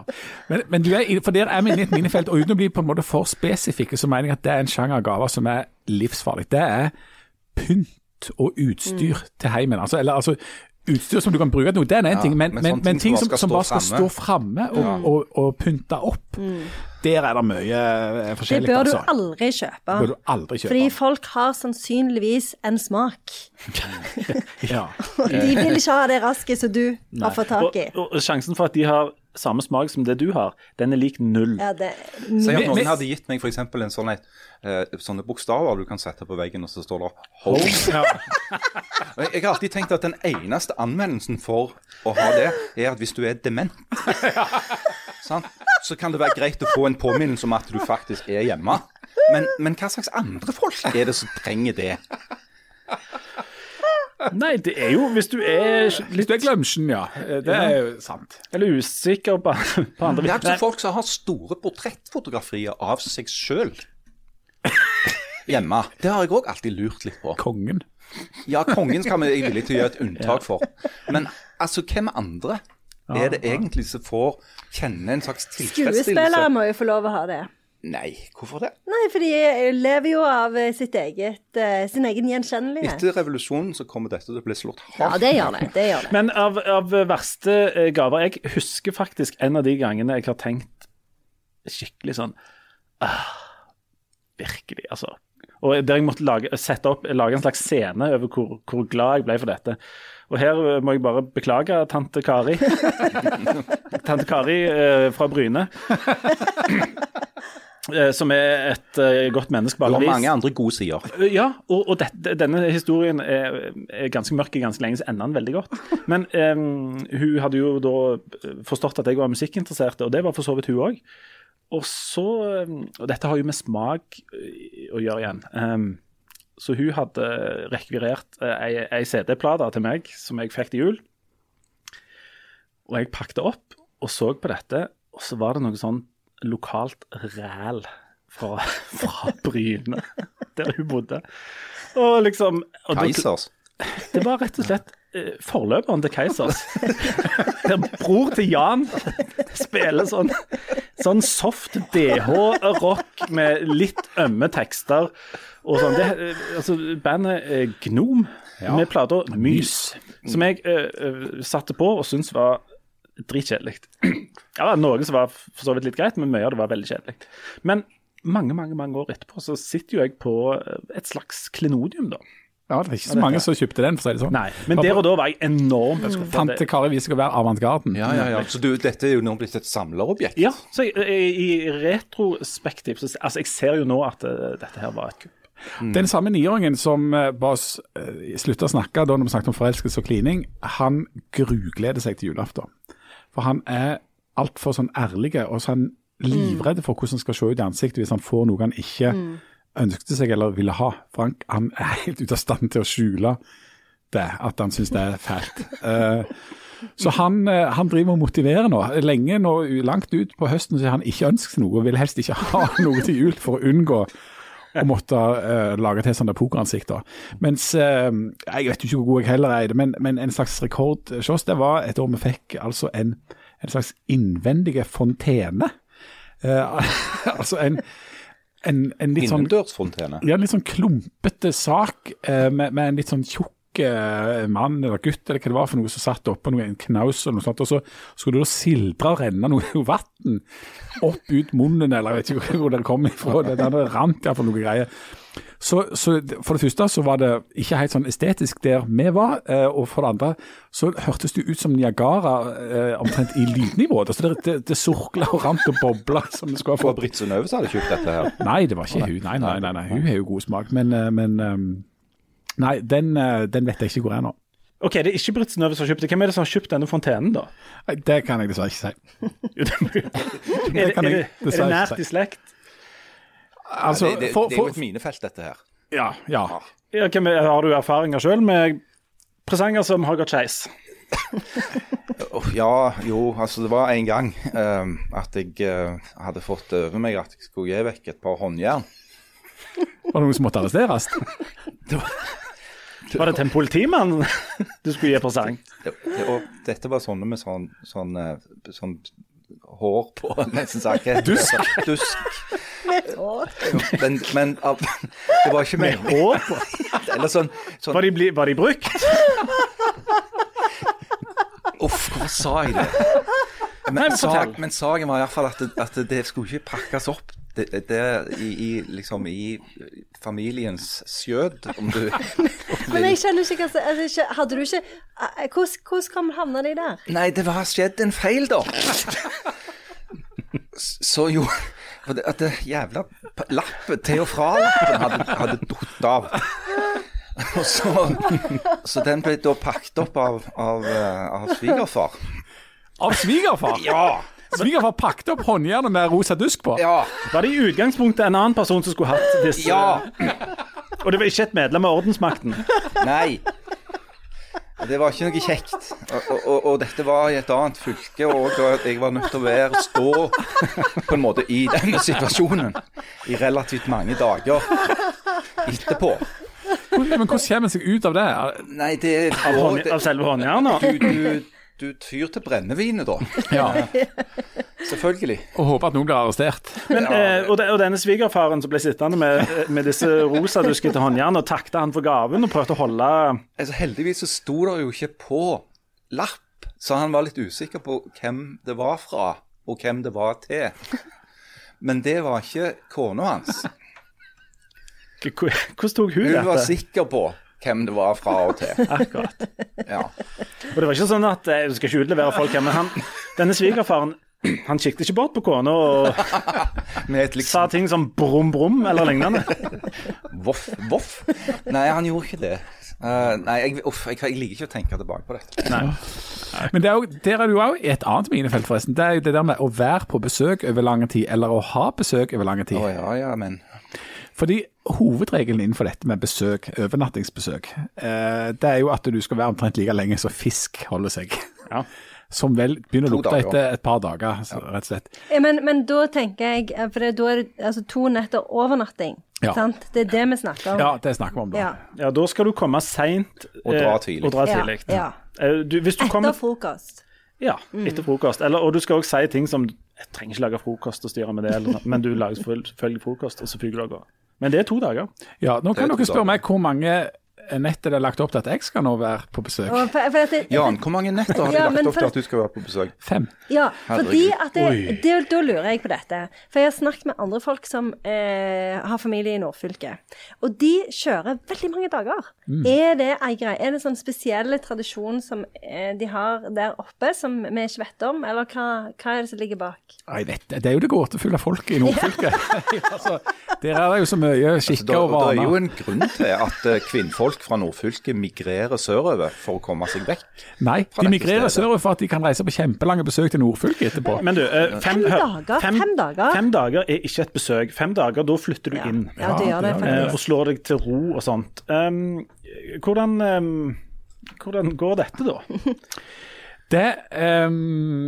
S2: Men, men du er, i- for der er vi inne i et minefelt, og uten å bli på en måte for spesifikke, så mener jeg at det er en sjanger gaver som er livsfarlig. Det er pynt og utstyr til heimen. Altså, eller altså utstyr som du kan bruke til noe, det er en
S4: Ja,
S2: ting, men,
S4: men
S2: men, men,
S4: sånn
S2: ting som, som bare skal stå framme og, og, og pynte opp, der er det mye eh,
S3: Det
S2: forskjellig.
S3: bør du
S2: altså.
S3: aldri kjøpe.
S2: bør du aldri kjøpe.
S3: Fordi folk har sannsynligvis en *laughs* smak.
S2: Ja.
S3: De vil ikke ha det raske som du har fått tak i.
S1: Og, og sjansen for at de har samme smak som det du har, den er lik null.
S3: Ja, det,
S4: Si at
S2: Men- men-
S4: noen hadde gitt meg f.eks. en sånn et, eh, sånne bokstaver du kan sette på veggen, og så står det 'Home'.
S2: Ja.
S4: *laughs* Og Jeg jeg har alltid tenkt at den eneste anvendelsen for å ha det, er at hvis du er
S2: *laughs*
S4: dement, sant? så kan det være greit å få en påminnelse om at du faktisk er hjemme. Men, men hva slags andre folk er det som trenger det?
S1: Nei, det er jo Hvis du
S3: Ah.
S1: er
S2: Hvis
S1: litt
S2: du er glemsjen, ja. Eh, Det er jo sant.
S1: eller usikker på, på andre
S4: Det er altså
S1: Nei,
S4: folk som har store portrettfotografier av seg sjøl hjemme. Det har jeg òg alltid lurt litt på.
S2: Kongen.
S4: Ja, kongen skal vi jeg er villig til å gjøre et unntak for. Men altså, hvem andre er det egentlig som får kjenne en slags tilfredsstillelse?
S3: skuespillere må jo få lov å ha det.
S4: Nei, hvorfor det?
S3: Nei, for de lever jo av eh, sitt eget, eh, sin egen gjenkjennelighet.
S4: Etter revolusjonen så kommer dette til å bli slått
S3: Ja,
S4: hardt.
S3: det gjør det. det, *laughs* gjør det.
S1: Men av, av verste eh, gaver Jeg husker faktisk en av de gangene jeg har tenkt skikkelig sånn «Ah, Virkelig, altså. Og der jeg måtte lage, sette opp, lage en slags scene over hvor, hvor glad jeg ble for dette. Og her eh, må jeg bare beklage tante Kari. tante Kari eh, fra Bryne. Eh, Som er et eh, godt menneske på
S4: Du
S1: alle
S4: har
S1: vis.
S4: mange andre gode sider.
S1: Eh, Ja, og, og dette, denne historien er, er ganske mørk i ganske lenge, så ender den veldig godt. Men eh, hun hadde jo da eh, forstått at jeg var musikkinteressert, og det var for så vidt hun òg. Og så eh, Og dette har jo med smak eh, å gjøre igjen. Eh, så hun hadde rekvirert eh, ei, ei CD-plate til meg som jeg fikk til jul. Og jeg pakket opp og så på dette, og så var det noe sånn lokalt ræl fra, *laughs* fra Bryne, der hun bodde. Og liksom og da-
S4: Keisers.
S1: Det var rett og slett eh, forløperen til Keisers. *laughs* Der bror til Jan spiller sånn, sånn soft DH-rock med litt ømme tekster og sånn. Det, eh, altså, bandet eh, Gnom med plata Mys, som jeg eh, eh, satte på og syntes var dritkjedelig. *clears throat* Ja, noe som var for så vidt litt greit, men mye av det var veldig kjedelig. Men mange, mange mange år etterpå så sitter jo jeg på eh, et slags klenodium, da.
S2: Ja, det er ikke så mange som kjøpte den, for å si det sånn.
S1: Nei, men der og da var jeg enormt
S2: Tante Kari viser seg å være avantgarden.
S4: Ja, ja, ja. Så du, dette er jo nå blitt et samlerobjekt.
S1: Ja, så jeg, jeg, i retrospektiv så, Altså, jeg ser jo nå at eh, dette her var et kupp.
S2: Den samme niåringen som eh, ba oss eh, slutte å snakke da når vi snakket om forelskelse og klining, han grugleder seg til julaften. For han er altfor sånn ærlig, og så er han livredd for hvordan han skal se ut i ansiktet hvis han får noe han ikke ønsket seg eller ville ha. Frank han er helt ute av stand til å skjule det, at han syns det er fælt. Eh, så han, eh, han driver og motiverer nå. Lenge nå, u- langt ut på høsten, så har han ikke ønsket seg noe, og vil helst ikke ha *laughs* noe til jul for å unngå å måtte eh, lage til sånne pokeransikter. Mens eh, Jeg vet jo ikke hvor god jeg heller er i det, men, men en slags rekord hos oss, det var et år vi fikk altså en, en slags innvendige fontene. Eh, *laughs* altså en, en, en litt sånn
S4: Innendørsfontene.
S2: ja, en litt sånn klumpete sak eh, med, med en litt sånn tjukk eh, mann eller gutt eller hva det var for noe som satt oppå noe, en knaus eller noe sånt, og så skulle det da sildre og renne noe vann opp ut munnen, eller jeg vet ikke hvor det kom ifra, det der det rant iallfall noe greier. Så, så for det første så var det ikke helt sånn estetisk der vi var, eh, og for det andre så hørtes det ut som Niagara eh, omtrent i lydnivå. Altså det, det, det surkla og rant og bobla som det skulle ha
S4: Det var
S2: fått.
S4: Britt Synnøve som hadde kjøpt dette her.
S2: Nei, det var ikke hun. Nei, nei, nei, nei. Hun har jo god smak, men, eh, men ehm, Nei, den, eh, den vet jeg ikke hvor er nå.
S1: OK, det er ikke Britt Synnøve som har kjøpt det. Hvem er det som har kjøpt denne fontenen, da?
S2: Nei, Det kan jeg dessverre ikke si.
S1: Jo, det må jo- er, det,
S2: *laughs* Det kan
S1: er,
S2: jeg
S1: det, er det
S2: dessverre
S1: nært
S2: ikke
S1: i slekt?
S2: Altså,
S4: det, det,
S2: for,
S4: det er jo
S2: for,
S4: et minefelt, dette her.
S2: ja, ja.
S1: Ja, hvem er, har du erfaringer sjøl med presanger som har gått skeis?
S4: Åh, Oh, ja, jo, altså det var en gang eh, at jeg eh, hadde fått over meg at jeg skulle gi vekk et par håndjern.
S2: Var det noen som måtte arresteres?
S4: *laughs*
S1: Var det til en politimann *laughs* du skulle gi presang?
S4: Det, det, og dette var sånne med sånn, sånn, eh, sånn hår på, *laughs* nesten sagt. Dusk. Dusk.
S3: Med hår.
S4: Men, men av- det var ikke meningen.
S1: Hår på?
S4: Eller sånn, sånn
S1: Var de, bli- var de brukt?
S4: Uff, hvorfor sa jeg det? Men,
S1: men
S4: sag,
S1: fortell.
S4: men saken var iallfall at, det- at det skulle ikke pakkes opp det, det i, i, liksom, i familiens skjød, om du *laughs*
S3: Men jeg skjønner ikke hva som altså, ikke- Hadde du ikke eh, Hvordan, hvordan kom havna de der?
S4: Nei, det har skjedd en feil, da. S- Så jo for det, At det jævla p- lappet til og fra-lappen hadde, hadde datt av. Og så, så den ble da pakket opp av, av, eh, av svigerfar.
S2: Av svigerfar?
S4: Ja!
S2: Svigerfar pakket opp håndjernet med rosa dusk på.
S4: Ja!
S1: Var det i utgangspunktet en annen person som skulle hatt disse?
S4: ja.
S1: Og det var ikke et medlem av ordensmakten?
S4: Nei. Og Det var ikke noe kjekt. Og, og, og, og dette var i et annet fylke, og da- jeg var nødt til å være stå på en måte i denne situasjonen i relativt mange dager etterpå.
S2: Men hvordan kommer en seg ut av det?
S4: Nei, det er
S1: Av, hånd, av selve håndjernet?
S4: Du, du, du tyr til brennevinet, da.
S2: Ja,
S4: Selvfølgelig.
S2: Og håper at noen blir arrestert.
S1: Men, eh, og, de, og denne svigerfaren som ble sittende med, eh, med disse rosaduskete håndjernene, og takta han for gaven og prøvde å holde
S4: Altså, heldigvis så sto det jo ikke på lapp, så han var litt usikker på hvem det var fra, og hvem det var til. Men det var ikke kona hans.
S1: K- k- Hvordan tok hun
S4: Hun var
S1: dette?
S4: sikker på hvem det var fra og til.
S1: Akkurat.
S4: Ja.
S1: Og det var ikke sånn at eh, Jeg skal ikke utlevere folk her, men han, denne svigerfaren han kikket ikke bort på kona og
S4: Med et liksom
S1: sa ting som brum, brum eller lignende.
S4: voff, voff. Nei, han gjorde ikke det. Eh, nei, jeg, uff, jeg, jeg liker ikke å tenke tilbake på dette.
S2: Men det er jo, der er du òg i et annet minefelt, forresten. Det er jo det der med å være på besøk over lang tid, eller å ha besøk over lang tid.
S4: Å ja, ja, men
S2: Fordi hovedregelen innenfor dette med besøk, overnattingsbesøk, eh, det er jo at du skal være omtrent like lenge som fisk holder seg.
S1: Ja.
S2: *laughs* Som vel begynner å
S4: To
S2: lukte
S4: dager.
S2: etter et par dager, så, rett og slett.
S3: Ja, Eh, Men, men da tenker jeg eh, For det, da er det altså, to netter overnatting.
S2: Ja.
S3: Sant? Det er det vi snakker om.
S2: Ja, det snakker vi om da.
S3: Ja.
S1: Ja, da skal du komme seint
S4: Og dra tidlig.
S1: Og dra
S3: Ja,
S1: tidlig.
S3: ja.
S1: Eh, Du, hvis du
S3: Etter
S1: kommer
S3: frokost.
S1: Ja,
S3: Mm.
S1: etter frokost. Eller, og du skal også si ting som Jeg trenger ikke lage frokost og styre med det, eller, noe, men du lager selvfølgelig frokost, og så fyker du av gårde. Men det er to dager.
S2: Ja, nå kan
S4: Det er
S2: dere
S4: to
S2: spørre
S4: dager.
S2: meg hvor mange nettet det er lagt opp til at jeg skal nå være på besøk.
S3: Og for, for at det,
S4: Jan, hvor mange netter har de
S3: Ja, men
S4: lagt opp
S3: for-
S4: til at du skal være på besøk?
S2: Fem.
S3: Ja,
S4: Herregud.
S3: fordi at
S4: Oi.
S3: det, det, da lurer jeg på dette. For jeg har snakket med andre folk som eh, har familie i nordfylket. Og de kjører veldig mange dager. Er det ei greie? Er det en sånn spesiell tradisjon som eh, de har der oppe, som vi ikke vet om? Eller hva, hva er det som ligger bak?
S2: Nei, dette, det er jo det gåtefulle folket i nordfylket. *laughs* altså, der er det jo så mye
S4: Det,
S2: skikker og
S4: det Altså, er jo
S2: vaner.
S4: en grunn til at eh, kvinnfolk fra nordfylket migrerer sørover for å komme seg vekk.
S2: Nei,
S4: fra
S2: de
S4: dette
S2: migrerer
S4: stedet.
S2: sørover for at de kan reise på kjempelange besøk til nordfylket etterpå.
S1: Men du, eh, fem,
S3: Fem
S1: hør,
S3: dager, fem dager.
S1: Fem dager er ikke et besøk. Fem dager, da flytter du
S3: Ja,
S1: inn.
S3: ja du gjør det
S2: det gjør
S1: eh,
S3: faktisk.
S1: og slår deg til ro og sånt. Um, hvordan, um, hvordan går dette, da?
S2: Det ehm,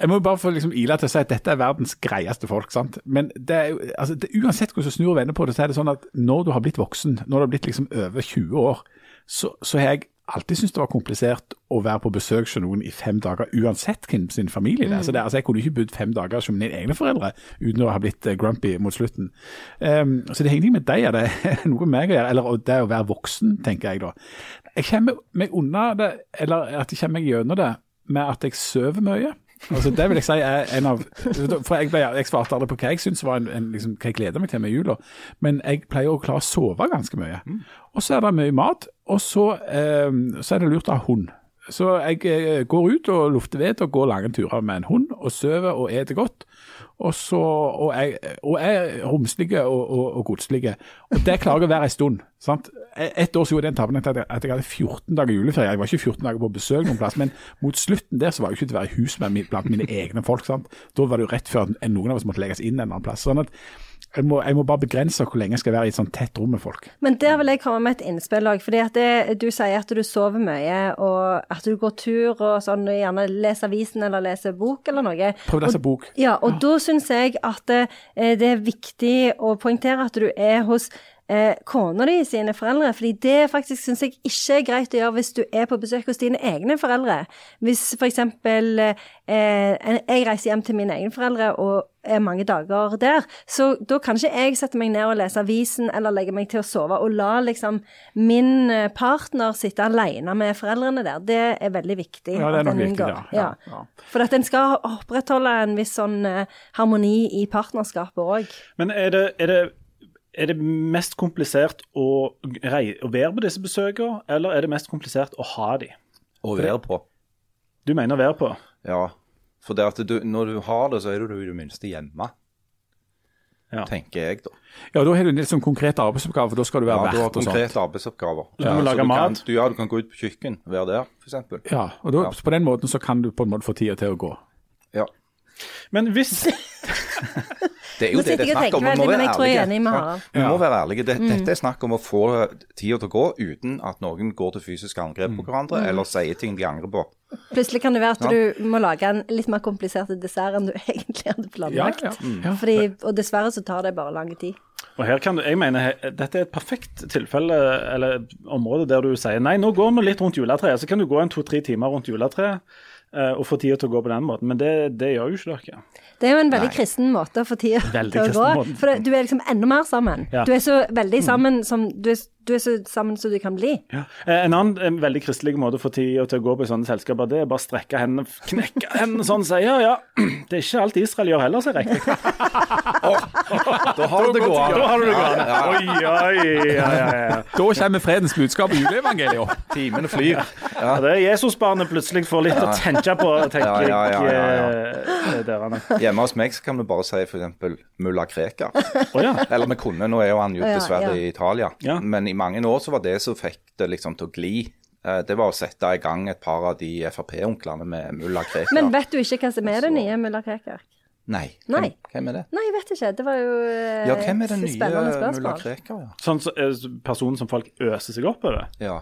S2: Jeg må jo bare få liksom ile til å si at dette er verdens greieste folk. sant? Men det er jo, altså, det, uansett hvordan du snur og vender på det, så er det sånn at når du har blitt voksen, når du har blitt liksom over 20 år, så, så har jeg alltid syntes det var komplisert å være på besøk hos noen i fem dager, uansett hvem sin familie det er. Så det, er- altså, jeg kunne ikke bodd fem dager som mine egne foreldre uten å ha blitt eh, grumpy mot slutten. Ehm, så det henger ikke med deg, er *laughs* det noe med meg å gjøre? Eller og det å være voksen, tenker jeg da. Jeg kommer meg unna det, eller at jeg kommer meg gjennom det med at jeg sover mye. Altså, det vil jeg si er en av For jeg, ble, jeg svarte aldri på hva jeg syns var en, en liksom, hva jeg gleder meg til med jula, men jeg pleier å klare å sove ganske mye. Og så er det mye mat, og så, eh, så er det lurt å ha hund. Så jeg eh, går ut og lufter ved og går lange turer med en hund, og sover og eter godt. Og, så, og, jeg, og jeg er romslige og, og, og godslige. Og det klarer jeg å være en stund. sant? Et år så gjorde jeg den tabben at jeg, at jeg hadde 14 dager juleferie. Jeg var ikke 14 dager på besøk noen plass, men mot slutten der så var jeg ikke til å være i hus med, mi- blant mine egne folk. sant? Da var det jo rett før en- noen av oss måtte legges inn en eller annen plass. sånn at jeg må, jeg må bare begrense hvor lenge jeg skal være i et sånt tett rom med folk.
S3: Men der vil jeg komme med et innspill òg. For du sier at du sover mye, og at du går tur og sånn, og gjerne leser avisen eller leser bok eller noe.
S2: Prøv å lese bok.
S3: Ja, og da syns jeg at eh, det er viktig å poengtere at du er hos eh, kona di sine foreldre, fordi det faktisk syns jeg ikke er greit å gjøre hvis du er på besøk hos dine egne foreldre. Hvis f.eks. Eh, en- jeg reiser hjem til mine egne foreldre og er mange dager der, så da kan ikke jeg sette meg ned og lese avisen eller legge meg til å sove og la liksom min eh, partner sitte alene med foreldrene der. Det er veldig viktig.
S2: Ja, det er
S3: at
S2: nok
S3: en
S2: viktig,
S3: unngår.
S2: ja. Ja, ja.
S3: For at en skal opprettholde en viss sånn eh, harmoni i partnerskapet òg.
S1: Men er det, er det, er det mest komplisert å, rei, å være på disse besøkene, eller er det mest komplisert å ha de?
S4: Å være på.
S1: Du mener å være på?
S4: Ja. For det at du, når du har det, så er du i det minste hjemme,
S1: Ja.
S4: tenker jeg, da.
S2: Ja, da har du en litt sånn konkret arbeidsoppgave, for da skal du
S4: Ja,
S2: være
S4: du
S2: vert og
S4: har
S2: sånn. sånt.
S4: konkrete arbeidsoppgaver.
S1: du må
S4: så
S1: lage
S4: kan,
S1: mat.
S4: Du, ja, du kan gå ut på kjøkken, være der, f.eks.
S2: Ja, og da,
S4: Ja.
S2: på den måten så kan du på en måte få tida til å gå.
S4: Ja.
S1: Men hvis
S4: Det er
S3: Nå
S4: jo det
S3: sitter
S4: det
S3: jeg
S4: er
S3: og
S4: snakk om.
S3: tenker
S4: Vi
S3: veldig,
S4: må
S3: men
S4: være
S3: jeg tror jeg er
S4: ærlige.
S3: enig med
S4: Ja.
S3: Harald. Mm.
S4: Vi må være ærlige. Det, Dette er snakk om å få tida til å gå uten at noen går til fysisk angrep på
S3: Mm.
S4: hverandre eller sier ting de angrer på.
S3: Plutselig kan det være at
S4: Ja.
S3: du må lage en litt mer komplisert dessert enn du *laughs* egentlig hadde planlagt.
S2: Ja, ja. Mm. Ja.
S3: Fordi, og dessverre så tar det bare lang tid.
S1: Og her kan du, jeg mener, he- Dette er et perfekt tilfelle eller område der du sier nei, nå går vi litt rundt juletreet. Så kan du gå en to-tre timer rundt juletreet eh, og få tida til å gå på den måten. Men det, det gjør jo ikke dere.
S3: Det er jo en veldig kristen måte å få tida
S1: Veldig
S3: til å gå.
S1: kristen måte.
S3: For det- du er liksom enda mer sammen.
S1: Ja.
S3: Du er så
S2: Mm.
S3: veldig sammen som du er, du er så sammen som du kan bli.
S1: Eh, En annen eh, veldig kristelig måte å få tida til å gå på i sånne selskaper, det er bare strekke hendene, f- knekke hendene sånn, sier ja, ja. Det er ikke alt Israel gjør heller, sier jeg.
S4: Da har du det gående.
S1: Da har du det gående. Oi, oi, ja, ja, ja.
S2: Da kommer fredens budskap i juleevangeliet opp.
S4: Timene flyr.
S1: ja. Det er Jesusbarnet plutselig får litt å tenke på,
S4: Ja,
S1: tenker
S4: ja, ja, ja,
S1: jeg. eh, dere.
S4: Hjemme hos meg så kan vi bare si f.eks. mulla Krekar.
S1: Å ja.
S4: Eller vi kunne, nå er jo han
S3: *laughs*
S4: jo
S3: Ja, ja.
S4: dessverre i Italia.
S1: Ja.
S4: Men i mange år så var det som fikk det liksom til å gli. eh, Det var å sette i gang et par av de Frp-onklene med mulla Krekar.
S3: Men vet du ikke hva som er det nye mulla Krekar?
S4: Nei.
S3: Nei.
S4: Hvem, hvem er det?
S3: Nei, jeg vet ikke. Det var jo eh,
S4: Ja, hvem er den
S3: et
S4: nye mulla Krekar? Ja.
S1: Sånn så, eh, person som folk øser seg opp over.
S4: ja.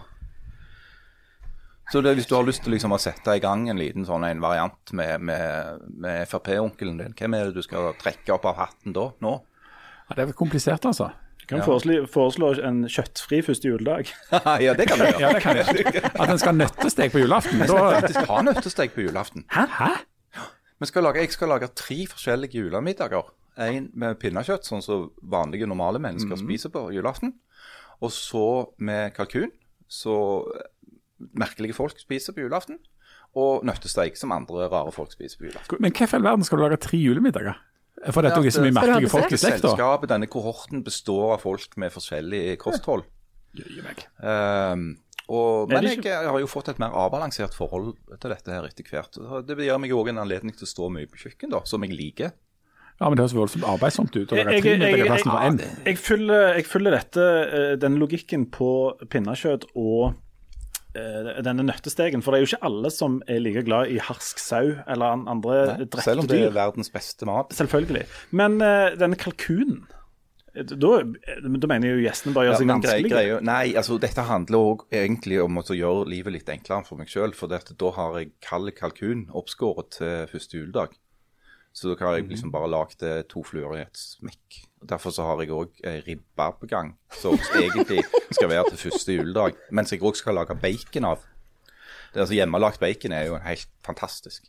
S4: Så det, hvis du har lyst til liksom å sette i gang en liten sånn en variant med, med, med Frp-onkelen din, hvem er det du skal trekke opp av hatten da? Nå? *laughs*
S2: Ja, det er komplisert, altså.
S1: Du kan foreslå, foreslå en kjøttfri første juledag.
S4: ja, det kan du gjøre.
S2: Ja, det kan jeg. *laughs* At en skal ha nøttestek på julaften.
S4: Vi skal
S2: Da,
S4: faktisk ha nøttestek på julaften.
S2: hæ?
S4: Vi skal lage, jeg skal lage tre forskjellige julemiddager. En med pinnekjøtt, sånn som vanlige, normale mennesker spiser på julaften. Og så med kalkun, så merkelige folk spiser på julaften, og nøttesteik som andre rare folk spiser på julaften.
S2: Men hvorfor i all verden skal du lage tre julemiddager? For dette er så mye
S3: du
S4: Skal
S3: ha
S2: merkelige folk i
S3: besøk?
S2: slekt, da.
S4: Selskapet, denne kohorten, består av folk med forskjellig kosthold. Ehm, og,
S1: Er
S4: men
S1: det ikke-
S4: jeg har jo fått et mer avbalansert forhold til dette her etter hvert. Og Det gir meg òg en anledning til å stå mye på kjøkken, da, som jeg liker.
S2: Ja, men det høres voldsomt arbeidsomt ut å lage
S1: Jeg-
S2: tre
S1: jeg-
S2: middager i
S1: jeg-
S2: plassen for
S1: jeg-
S2: én.
S1: Jeg følger, jeg følger dette, eh, den logikken på pinnekjøtt og eh, denne nøttestegen, for det er jo ikke alle som er like glad i harsk sau eller an- andre Eh, drepte
S4: Selv om det er
S1: dyr.
S4: verdens beste mat.
S1: Selvfølgelig. Men eh, denne kalkunen eh, da, da mener jeg jo gjestene bare gjør
S4: Ja,
S1: seg
S4: men grei-
S1: vanskelige.
S4: greier- nei, altså dette handler òg egentlig om å gjøre livet litt enklere for meg sjøl. For det at da har jeg kald kalkun oppskåret til første juledag. Så da har jeg liksom bare lagd eh, to fluer i et smekk. Og Derfor så har jeg òg ei ribbe på gang, som egentlig skal være til første juledag. Mens jeg òg skal lage bacon av. Det altså Hjemmelagt bacon er jo helt fantastisk.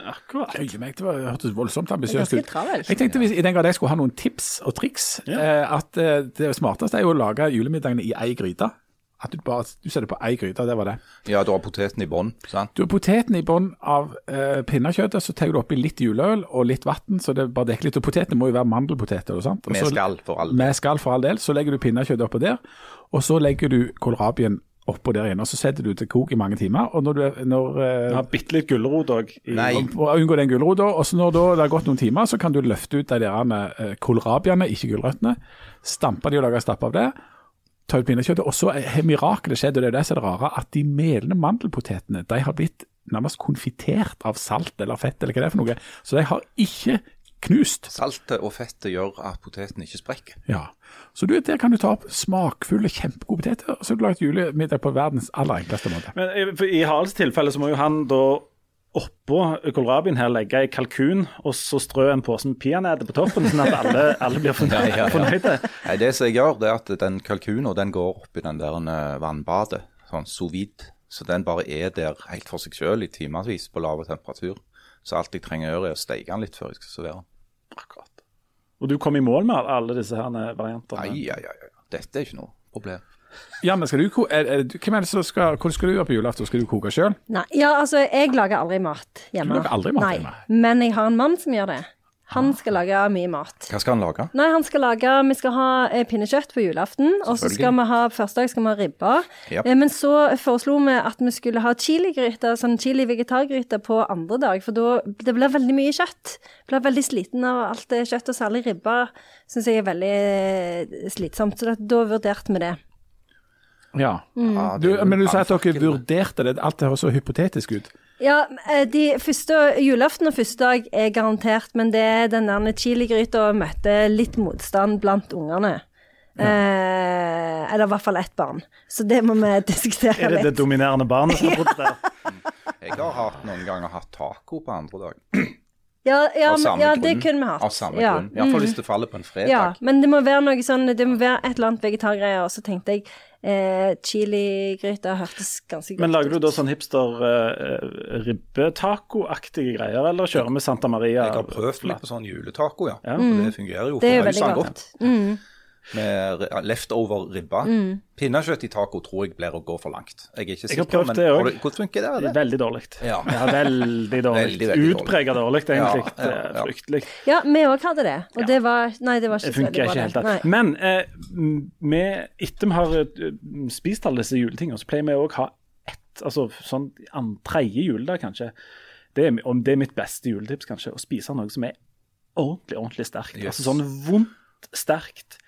S1: Akkurat.
S2: Jøye meg, det var- det hørtes voldsomt ambisiøst
S3: Ganske
S2: ut.
S3: travelt.
S2: Jeg tenkte hvis, I den grad jeg skulle ha noen tips og triks, eh, at eh, det smarteste er jo å lage julemiddagene i ei gryte. At du bare du setter på ei gryte, det var det.
S4: Ja, du har poteten i bånn, sant?
S2: Du har poteten i bånn av eh, pinnekjøttet, så tar du oppi litt juleøl og litt vann, så det bare dekker litt. Og potetene må jo være mandelpoteter. og sant? Og
S4: Med
S2: så-
S4: skall, for all del.
S2: Med skall for all del. Så legger du pinnekjøttet oppå der, og så legger du kålrabien oppå der igjen. Og så setter du til kok i mange timer. og når du, er- når, eh,
S1: Ja, Bitte litt gulrot òg.
S4: Nei.
S2: for å unngå den gulrota. Og så når da det har gått noen timer, så kan du løfte ut de der med eh, kålrabiene, ikke gulrøttene. Stampe de og lage stapp av det. Ta ut pinnekjøttet. Og så har mirakelet skjedd, og det er det som er det rare, at de melende mandelpotetene de har blitt nærmest konfitert av salt eller fett eller hva det er for noe. Så de har ikke knust.
S4: Saltet og fettet gjør at poteten ikke sprekker.
S2: Ja. Så du, der kan du ta opp smakfulle, kjempegode poteter, og så har du lagd julemiddag på verdens aller enkleste måte.
S1: Men i- for I Haralds tilfelle så må jo han da oppå kålrabien her legge ei kalkun og så strø en pose med peanøtter på toppen, sånn at alle, alle blir fornøyde.
S4: *laughs* ja, ja.
S1: fornøyde.
S4: Nei, det som jeg gjør, det er at den kalkunen den går oppi den der eh, vannbadet, sånn sous vide. Så den bare er der helt for seg sjøl i timevis på lav temperatur. Så alt jeg trenger å gjøre, er å steike den litt før jeg skal servere den. Akkurat.
S1: Og du kom i mål med alle disse her variantene?
S4: Nei, ja, ja, ja. Dette er ikke noe problem.
S2: Janne, skal du, ko- er, er, du- hvem er det som skal, hvordan skal du gjøre på julaften? Skal du koke sjøl?
S3: Nei, ja, altså, jeg lager aldri mat hjemme.
S2: Du lager aldri mat
S3: Nei.
S2: hjemme? Ah.
S3: Men jeg har en mann som gjør det. Han skal lage mye mat.
S4: Hva skal han lage?
S3: Nei, han skal lage, Vi skal ha eh, pinnekjøtt på julaften, og så
S4: Selvfølgelig.
S3: skal vi ha første dag skal vi ha ribba.
S4: Ja.
S3: Eh, Men så foreslo vi at vi skulle ha chiligryte, sånn chili-vegetargryte på andre dag, for da det blir veldig mye kjøtt. Blir veldig sliten av alt det kjøttet, og særlig ribba syns jeg er veldig eh, slitsomt. Så da, da vurderte vi det.
S2: Ja.
S3: Mm.
S4: Ah, det
S2: Du,
S4: er jo
S2: men du sa at dere
S4: brannfakkel.
S2: vurderte det. Alt det høres så hypotetisk ut.
S3: Ja, eh, de første, julaften og første dag er garantert, men det er den der chiligryta møtte litt motstand blant ungene. Eh, eller i hvert fall ett barn. Så det må vi diskutere
S1: Er det det
S3: litt.
S1: dominerende barnet som har trodd det?
S4: Jeg har hatt noen ganger hatt taco på andre dag.
S3: Ja, ja,
S4: Av
S3: men,
S4: samme
S3: ja
S4: grunn.
S3: det kunne vi hatt.
S4: Av samme
S3: ja. Mm.
S4: grunn. Iallfall hvis det faller på en fredag.
S3: Ja, men det må være noe sånn Det må være et eller annet vegetargreier. Og så tenkte jeg eh, chiligryte hørtes ganske godt ut.
S1: Men lager du da sånn hipster uh, ribbetaco-aktige greier, eller kjører med Santa Maria?
S4: Jeg har prøvd meg på sånn juletaco, ja.
S1: Ja.
S4: Og det fungerer jo
S3: Mm. Det er jo veldig
S4: forbausende
S3: godt. Mm.
S4: godt. Med re- leftover ribba. Pinnekjøtt i taco tror jeg blir å gå for langt. Jeg er ikke
S1: Jeg har
S4: sikker,
S1: prøvd
S4: men
S1: det også.
S4: har du- hvordan funker det?
S1: Det er
S4: det?
S1: veldig dårlig.
S4: Ja.
S1: veldig dårlig.
S4: *laughs* Veldig, veldig dårlig.
S1: Utpreget dårlig, egentlig.
S4: Ja, ja, ja.
S1: Fryktelig.
S3: Ja, vi òg hadde det. Og det var Nei, det var
S1: Det
S3: ikke så veldig
S1: funker
S3: bra.
S1: ikke helt.
S3: det.
S1: da.
S3: Nei.
S1: Men eh, m- vi, etter vi har eh, spist alle disse juletingene, så pleier vi òg ha ett altså sånn an- tredje juledag, kanskje. Det er, om det er mitt beste juletips, kanskje, å spise noe som er ordentlig, ordentlig sterkt.
S4: Yes.
S1: Altså sånn vondt sterkt.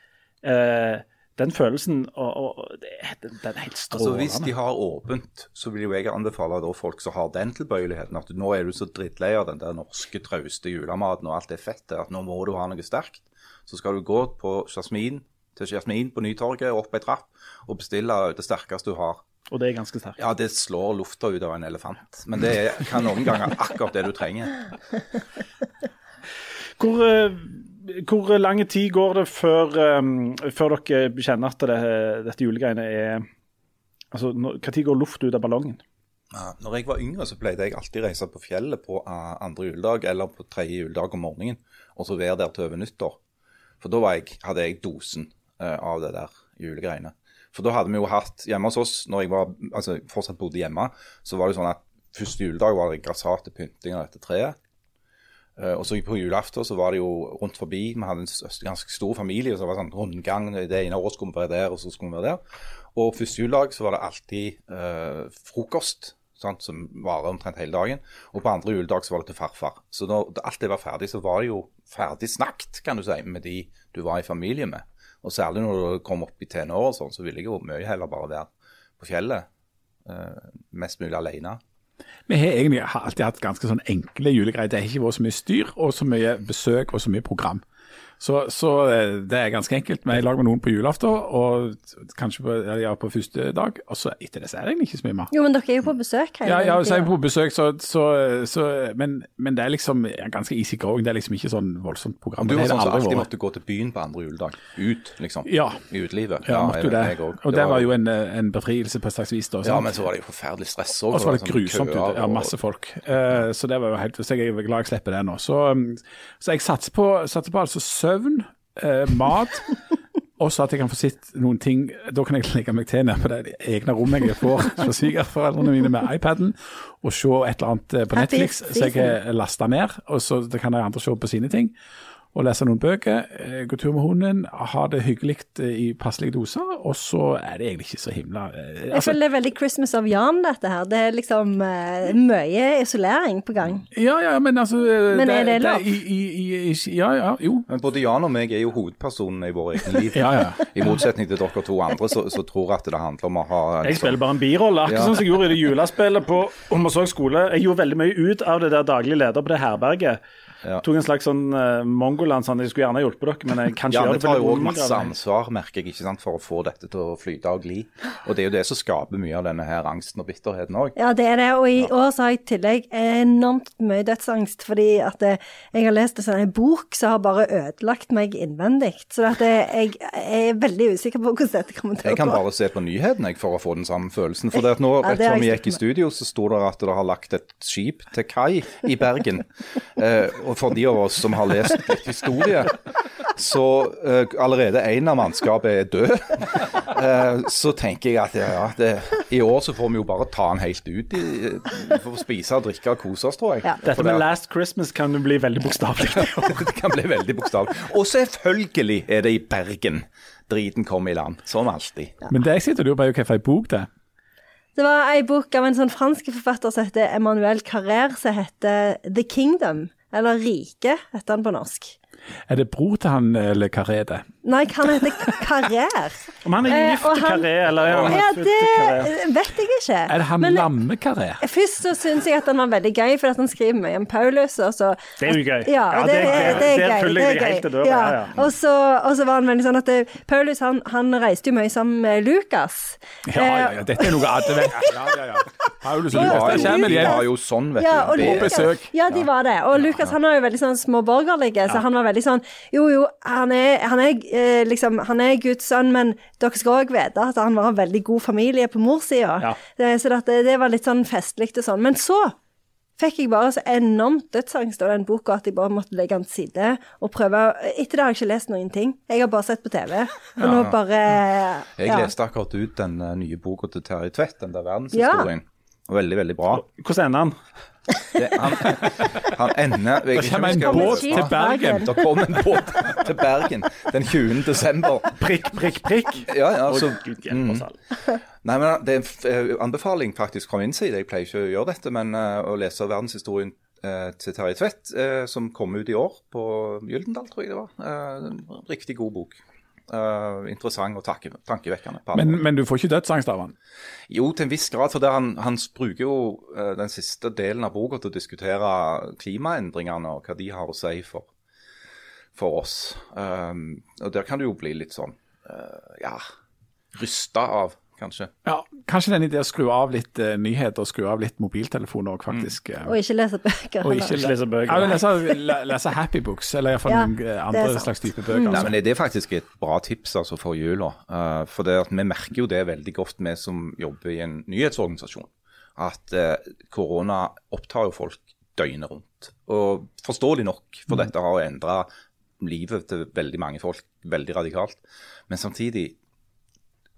S1: Eh, den følelsen og, og, og det er- den, den er helt
S4: Altså,
S1: strålende.
S4: hvis de har åpent, så vil jo jeg anbefale da folk som har den tilbøyeligheten, at nå er du så drittlei av den der norske, trauste julematen og alt det fettet, at nå må du ha noe sterkt. Så skal du gå på Jasmin, til Jasmin på Nytorget, opp ei trapp, og bestille det sterkeste du har.
S1: Og det er ganske sterkt.
S4: Ja, det slår lufta ut av en elefant. Men det er, kan noen ganger akkurat det du trenger.
S1: Hvor, eh, hvor lang tid går det før, eh, før dere kjenner at det, dette julegreiene er Altså, når, hva tid går luft ut av ballongen?
S4: Ja, Når jeg var yngre, så pleide jeg alltid reise på fjellet på eh, andre juledag eller på tredje juledag om morgenen, og så være der til over nyttår. For da var jeg, hadde jeg dosen eh, av det der julegreiene. For da hadde vi jo hatt hjemme hos oss, når jeg var, altså, fortsatt bodde hjemme, så var det jo sånn at første juledag var det grassat og pynting av dette treet. Eh, og så på julaften så var det jo rundt forbi, vi hadde en s- ganske stor familie, og så var det sånn rundgang, det ene året skulle vi være der, og så skulle vi være der. Og første juledag så var det alltid eh, frokost, sant, som varer omtrent hele dagen. Og på andre juledag så var det til farfar. Så da da alt det var ferdig, så var det jo ferdig snakket, kan du si, med de du var i familie med. Og særlig når du kom opp i tenåra og sånn, så ville jeg jo mye heller bare være på fjellet. eh, mest mulig alene.
S2: Vi har egentlig har alltid hatt ganske sånn enkle julegreier. Det har ikke vært så mye styr og så mye besøk og så mye program. Så, så eh, det er ganske enkelt. Vi er i lag med noen på julaften og kanskje på, ja, på første dag. Og så etter det så er det egentlig ikke så mye mer.
S3: Jo, men dere er jo på besøk hele
S2: Ja, ja, så er jeg
S3: tiden.
S2: på besøk, så, så, så men, men det er liksom ja, ganske easy going. Det er liksom ikke sånn voldsomt program. Det
S4: Du var
S2: har
S4: sånn
S2: det
S4: som
S2: aldri
S4: alltid
S2: vært.
S4: måtte gå til byen på andre juledag. Ut, liksom.
S2: Ja.
S4: I utelivet.
S2: Ja, måtte jo det.
S4: jeg også.
S2: Og det var jo en, eh, en befrielse på et slags vis. da.
S4: Ja,
S2: sant?
S4: men så var det jo forferdelig stress sånn òg.
S2: Og så var det grusomt ute. Ja, masse folk. Eh, så det var jo helt Så jeg er glad jeg slipper det nå. Så, um, så jeg satser på, satser på altså søvn, eh, mat, og så at jeg kan få sett noen ting Da kan jeg legge meg til nede på det egne rommet jeg får fra svigerforeldrene mine med iPaden, og se et eller annet eh, på
S3: Happy
S2: Netflix så jeg har lasta ned. Og så det kan de andre se på sine ting. Og lese noen bøker, eh, gå tur med hunden, ha det hyggelig eh, i passelige doser. Og så er det egentlig ikke så himla eh,
S3: Jeg føler det er veldig Christmas of Jan, dette her. Det er liksom eh, mye isolering på gang.
S2: Ja, ja, men altså
S3: Men er det lov?
S2: i, i, i, i, ja, ja, jo.
S4: Men både Jan og meg er jo hovedpersonene i våre egne
S1: *laughs*
S4: liv.
S2: Ja,
S3: *laughs*
S2: ja.
S4: I motsetning til dere to andre, så, så tror jeg at det handler om å ha en
S1: Jeg
S4: sånn-
S1: spiller bare en birolle, akkurat
S4: Ja.
S1: sånn som jeg gjorde i det julespillet på Omsorg skole. Jeg gjorde veldig mye ut av det der daglig leder på det herberget.
S4: Ja.
S1: Tok en slags sånn uh, mongoland, sånn. Jeg skulle gjerne ha hjulpet dere, men jeg kan ikke
S4: Ja,
S1: gjøre
S4: vi
S1: det.
S4: tar
S1: veldig
S4: jo òg
S1: undergravende.
S4: masse ansvar, merker jeg, ikke sant, for å få dette til å flyte og gli. Og det er jo det som skaper mye av denne her angsten og bitterheten òg.
S3: Ja, det er det. Og i år så har jeg i tillegg enormt mye dødsangst, fordi at eh, jeg har lest en sånn bok som har bare ødelagt meg innvendig. Så at eh, jeg jeg er veldig usikker på hvordan dette kommer til
S4: Jeg
S3: å
S4: kan
S3: gå.
S4: bare se på nyhetene jeg, for å få den samme følelsen. For det at nå,
S3: Ja,
S4: rett
S3: det har
S4: før vi
S3: jeg
S4: gikk i
S3: sett
S4: studio, så sto det at det har lagt et skip til kai i
S3: *laughs*
S4: Bergen. Eh, og for de av oss som har lest litt historie, så eh, allerede én av mannskapet er
S3: *laughs*
S4: død. Eh, så tenker jeg at ja, det, i år så får vi jo bare ta den helt ut. I, vi får spise og drikke og kose oss, tror jeg.
S3: Ja.
S1: Dette
S4: For det
S1: med
S4: at-
S1: Last Christmas kan jo bli veldig bokstavelig. *laughs*
S4: det kan bli veldig bokstavelig. Og selvfølgelig er det i Bergen driten kom i land, som alltid.
S2: Men det jeg sitter og lurer på, er jo hvilken bok det er.
S3: Det var ei bok av en sånn fransk forfatter som heter Emmanuel Carrère, som heter The Kingdom. Eller Riket, heter han på norsk.
S2: Er det bror til han eh, Le Carré, det?
S3: Nei, han heter Carrère.
S1: Om han er
S3: Eh,
S1: gift
S3: og
S1: til
S3: han-
S1: Carré, eller er han
S3: Ja,
S1: født til Carré?
S3: det vet jeg ikke.
S2: Er det han
S3: Men
S2: lamme Carré?
S3: først så syns jeg at han var veldig gøy, for at han skriver mye om Paulus. og så...
S1: Det er jo gøy.
S3: Ja, det, det,
S1: er-
S3: er
S1: der
S3: gøy.
S1: følger jeg
S3: det er
S1: deg
S3: gøy.
S1: helt til døra. Ja, ja.
S3: Og, så, og så var han veldig sånn at det, Paulus han, han reiste jo mye sammen med Lukas. Eh,
S2: Ja, ja, ja, dette er noe annet. vet jeg. Ja, ja, ja. Paulus og
S4: De
S2: Lukas,
S4: var
S2: der
S4: jo,
S2: kommer de
S4: de var
S2: igjen.
S4: jo sånn, vet
S3: Ja, og
S4: du.
S2: På
S3: Lukas,
S4: Det,
S2: besøk.
S3: ja, de var det. Og Lukas han var jo veldig sånn småborgerlig, så han var veldig sånn Jo, jo, han er, han er, eh, liksom, han er Guds sønn, men dere skal òg vite at han var en veldig god familie på morssida.
S1: Ja.
S3: Det- Så det, det var litt sånn festlig og sånn. Men så fikk jeg bare så enormt dødsangst av den boka at jeg bare måtte legge den til side og prøve Etter det har jeg ikke lest noen ting. Jeg har bare sett på TV. Og nå bare
S4: jeg
S3: ja.
S4: leste akkurat ut den eh, nye boka til Terje Tvedt, den der verdenshistorien. Veldig, veldig bra.
S1: Hvordan ender han?
S4: Det, han, *laughs* han ender jeg,
S2: Det
S4: ikke
S2: kommer en
S4: husker-
S2: båt
S3: skip
S2: til Bergen.
S4: Det kom en båt til Bergen den 20. desember.
S1: Prikk, prikk, prikk.
S4: Ja, ja,
S1: Å,
S4: så,
S1: Gud hjelpe oss alle.
S4: nei, men Det er en f- eh, anbefaling faktisk fra min side. Jeg pleier ikke å gjøre dette, men eh, å lese verdenshistorien eh, til Terje Tvedt, eh, som kom ut i år på Gyldendal, tror jeg det var. Eh, en Riktig god bok. Eh, interessant og tanke, tankevekkende. på alle
S2: Men, men du får ikke dødsangst av han.
S4: Jo, til en viss grad. For det han, han bruker jo eh, den siste delen av boka til å diskutere klimaendringene og hva de har å si for, for oss. Um, og der kan du jo bli litt sånn eh, ja, rysta av, kanskje.
S2: Ja, Kanskje den ideen å skru av litt eh, nyheter og skru av litt mobiltelefon òg, faktisk. eh,
S3: Og ikke lese bøker.
S2: Og
S3: heller.
S2: ikke
S1: Ikke lese bøker.
S2: Ja, men lese, le- lese happy books, eller iallfall
S3: Ja,
S2: noen eh,
S3: det er
S2: andre
S3: sant. Mm.
S2: slags type bøker.
S4: Nei,
S2: altså.
S4: men Det er faktisk et bra tips altså, for jula. eh, for det at vi merker jo det veldig godt, vi som jobber i en nyhetsorganisasjon, at eh, korona opptar jo folk døgnet rundt. Og forståelig nok, for dette har endra livet til veldig mange folk veldig radikalt. Men samtidig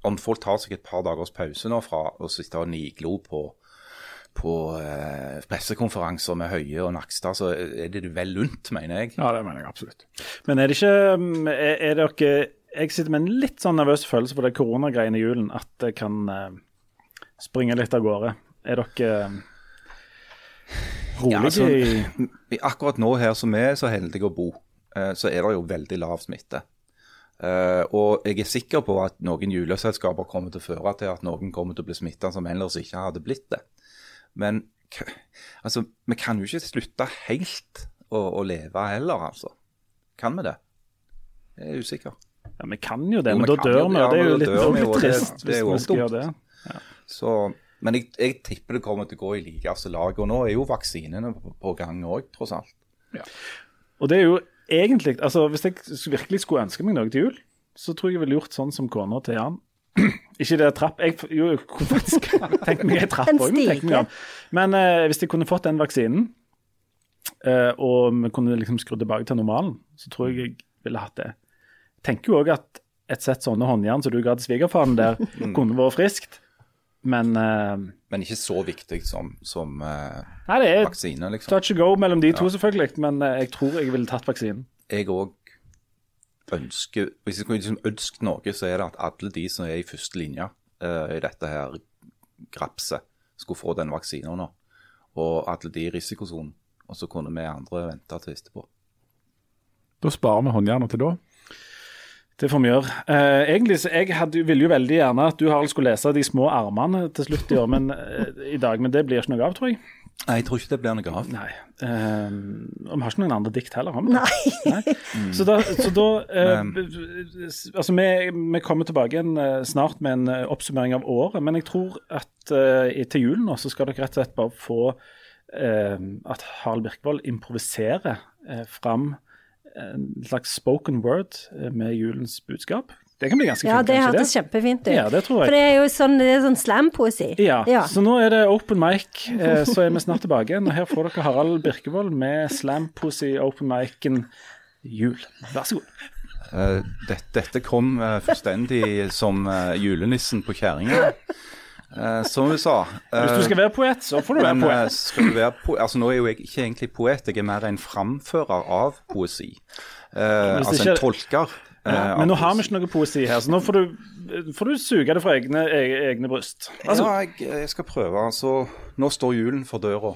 S4: om folk tar seg et par dagers pause nå fra å sitte og niglo på, på eh, pressekonferanser med Høie og Nakstad, så er det vel lunt, mener jeg.
S2: Ja, det mener jeg absolutt.
S1: Men er det ikke mm, Er, er dere Jeg sitter med en litt sånn nervøs følelse på det koronagreiene i julen, at det kan eh, springe litt av gårde. Er dere eh, rolige?
S4: Ja, altså, i- akkurat nå her som vi er så heldige å bo, eh, så er det jo veldig lav smitte. Eh, og jeg er sikker på at noen juleselskaper kommer til å føre til at noen kommer til å bli smitta som ellers ikke hadde blitt det. Men k- altså, vi kan jo ikke slutte helt å, å leve heller, altså. Kan vi det? Jeg er usikker.
S1: ja, vi kan jo det,
S4: Jo,
S1: men
S4: vi
S1: da
S4: kan
S1: dør
S4: jo det,
S1: vi, og det
S4: ja,
S1: er jo
S4: men da
S1: litt,
S4: dør vi, og
S1: litt
S4: det-
S1: trist
S4: det er
S1: hvis
S4: jo
S1: vi skal gjøre
S4: dumt.
S1: det.
S4: Så, men jeg, jeg tipper det kommer til å gå i likeste lag. Og nå er jo vaksinene på, på gang òg, tross alt.
S1: Og det er jo egentlig altså Hvis jeg s- virkelig skulle ønske meg noe til jul, så tror jeg jeg ville gjort sånn som kona til Jan. *clears throat* Ikke det trapp Jeg f- jo, jeg kunne faktisk *laughs* tenkt meg ei trapp
S3: En
S1: òg. Men, tenk meg
S3: stige.
S1: om. men eh, hvis jeg kunne fått den vaksinen, eh, og vi kunne liksom skru tilbake til normalen, så tror jeg jeg ville hatt det. Jeg tenker jo òg at et sett sånne håndjern som du ga til svigerfaren der, kunne vært friskt, men eh,
S4: Men ikke så viktig som, som eh,
S1: Nei, det er
S4: vaksine, liksom.
S1: touch and go mellom de to, selvfølgelig, men eh, jeg tror jeg ville tatt vaksinen.
S4: jeg òg ønsker Hvis jeg skulle liksom ønske noe, så er det at alle de som er i første linje eh, i dette her grapset, skulle få den vaksinen nå. Og alle de i risikosonen. Og så kunne vi andre vente til etterpå.
S2: Da sparer vi håndjernet til da.
S1: Det får vi gjøre. Eh, egentlig så jeg hadde, ville jo veldig gjerne at du Harald skulle lese De små armene til slutt i år, men, eh, i dag, men det blir ikke noe av, tror jeg.
S4: Nei, jeg tror ikke det blir noe av.
S1: Nei. Eh, og vi har ikke noen andre dikt heller, har vi? Nei. Så da, så da eh,
S4: Men-
S1: b- b- s- Altså, vi, vi kommer tilbake igjen eh, snart med en eh, oppsummering av året, men jeg tror at eh, i- til julen nå så skal dere rett og slett bare få eh, at Harald Birkvold improviserer eh, fram eh, en slags spoken word eh, med julens budskap. Det kan bli ganske
S5: Ja,
S1: fint,
S5: det
S1: kanskje
S5: hørtes kjempefint ut.
S1: Ja, det tror jeg.
S5: For det er jo sånn, det er sånn slampoesi.
S1: Ja,
S5: Ja.
S1: så nå er det open mic, eh, så er vi snart tilbake igjen. Og her får dere Harald Birkevold med slampussy open mic-en jul. Vær så god.
S4: Eh, dette, dette kom eh, fullstendig som eh, julenissen på kjerringa, eh, som vi sa. eh,
S1: Hvis du skal være poet, så får du være
S4: Men eh,
S1: poet.
S4: skal du være po altså, nå er jo jeg ikke egentlig poet, jeg er mer en framfører av poesi. Eh,
S1: Hvis
S4: altså
S1: ikke-
S4: en tolker. eh,
S1: Ja,
S4: av
S1: men nå har vi
S4: poesi.
S1: ikke noe poesi her, så nå får du, får du suge det fra egne, e- egne bryst. Vær så god.
S4: ja, jeg, jeg skal prøve. Altså, nå står julen for døra.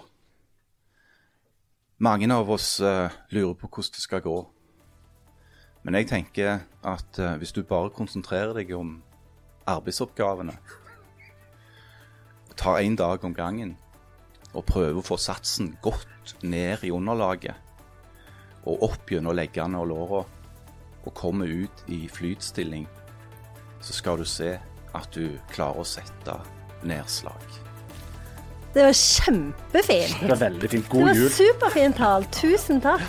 S4: Mange av oss eh, lurer på hvordan det skal gå. Men jeg tenker at eh, hvis du bare konsentrerer deg om arbeidsoppgavene, og tar én dag om gangen og prøver å få satsen godt ned i underlaget, og opp gjennom leggene og låra, og kommer ut i flytstilling så skal du se at du klarer å sette nedslag.
S5: Det var kjempefint.
S1: Det var veldig fint.
S5: Det
S1: God
S5: var
S1: jul.
S5: superfint, Harald. Tusen takk.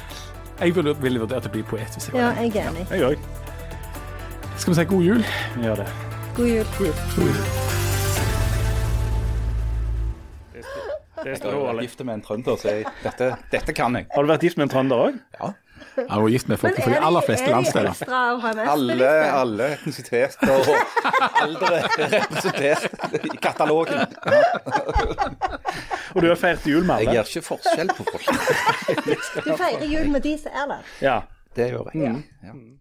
S2: Jeg ville, ville vurdert å bli poet hvis jeg
S5: Ja,
S2: var det.
S5: jeg er enig.
S1: Jeg òg.
S2: Skal vi si god jul?
S1: Vi gjør det.
S5: God jul.
S1: det
S4: Jeg
S1: står
S4: har
S1: Harald.
S4: vært gift med en trønder, så jeg, dette, dette kan jeg.
S1: Har du vært gift med en trønder òg?
S4: Ja.
S2: Jeg har vært gift med folk
S5: Men
S2: fra de
S5: er
S2: aller
S5: de-
S2: fleste
S5: Er de
S2: landsdeler.
S5: ekstra av HMS?
S4: Alle, alle etnisiteter og aldre er representert i katalogen.
S1: Og du har feiret jul med
S4: Jeg
S1: alle?
S4: gjør ikke forskjell på folk.
S5: Du feirer jul med de som er der.
S1: Ja.
S4: Det gjør jeg. Ja.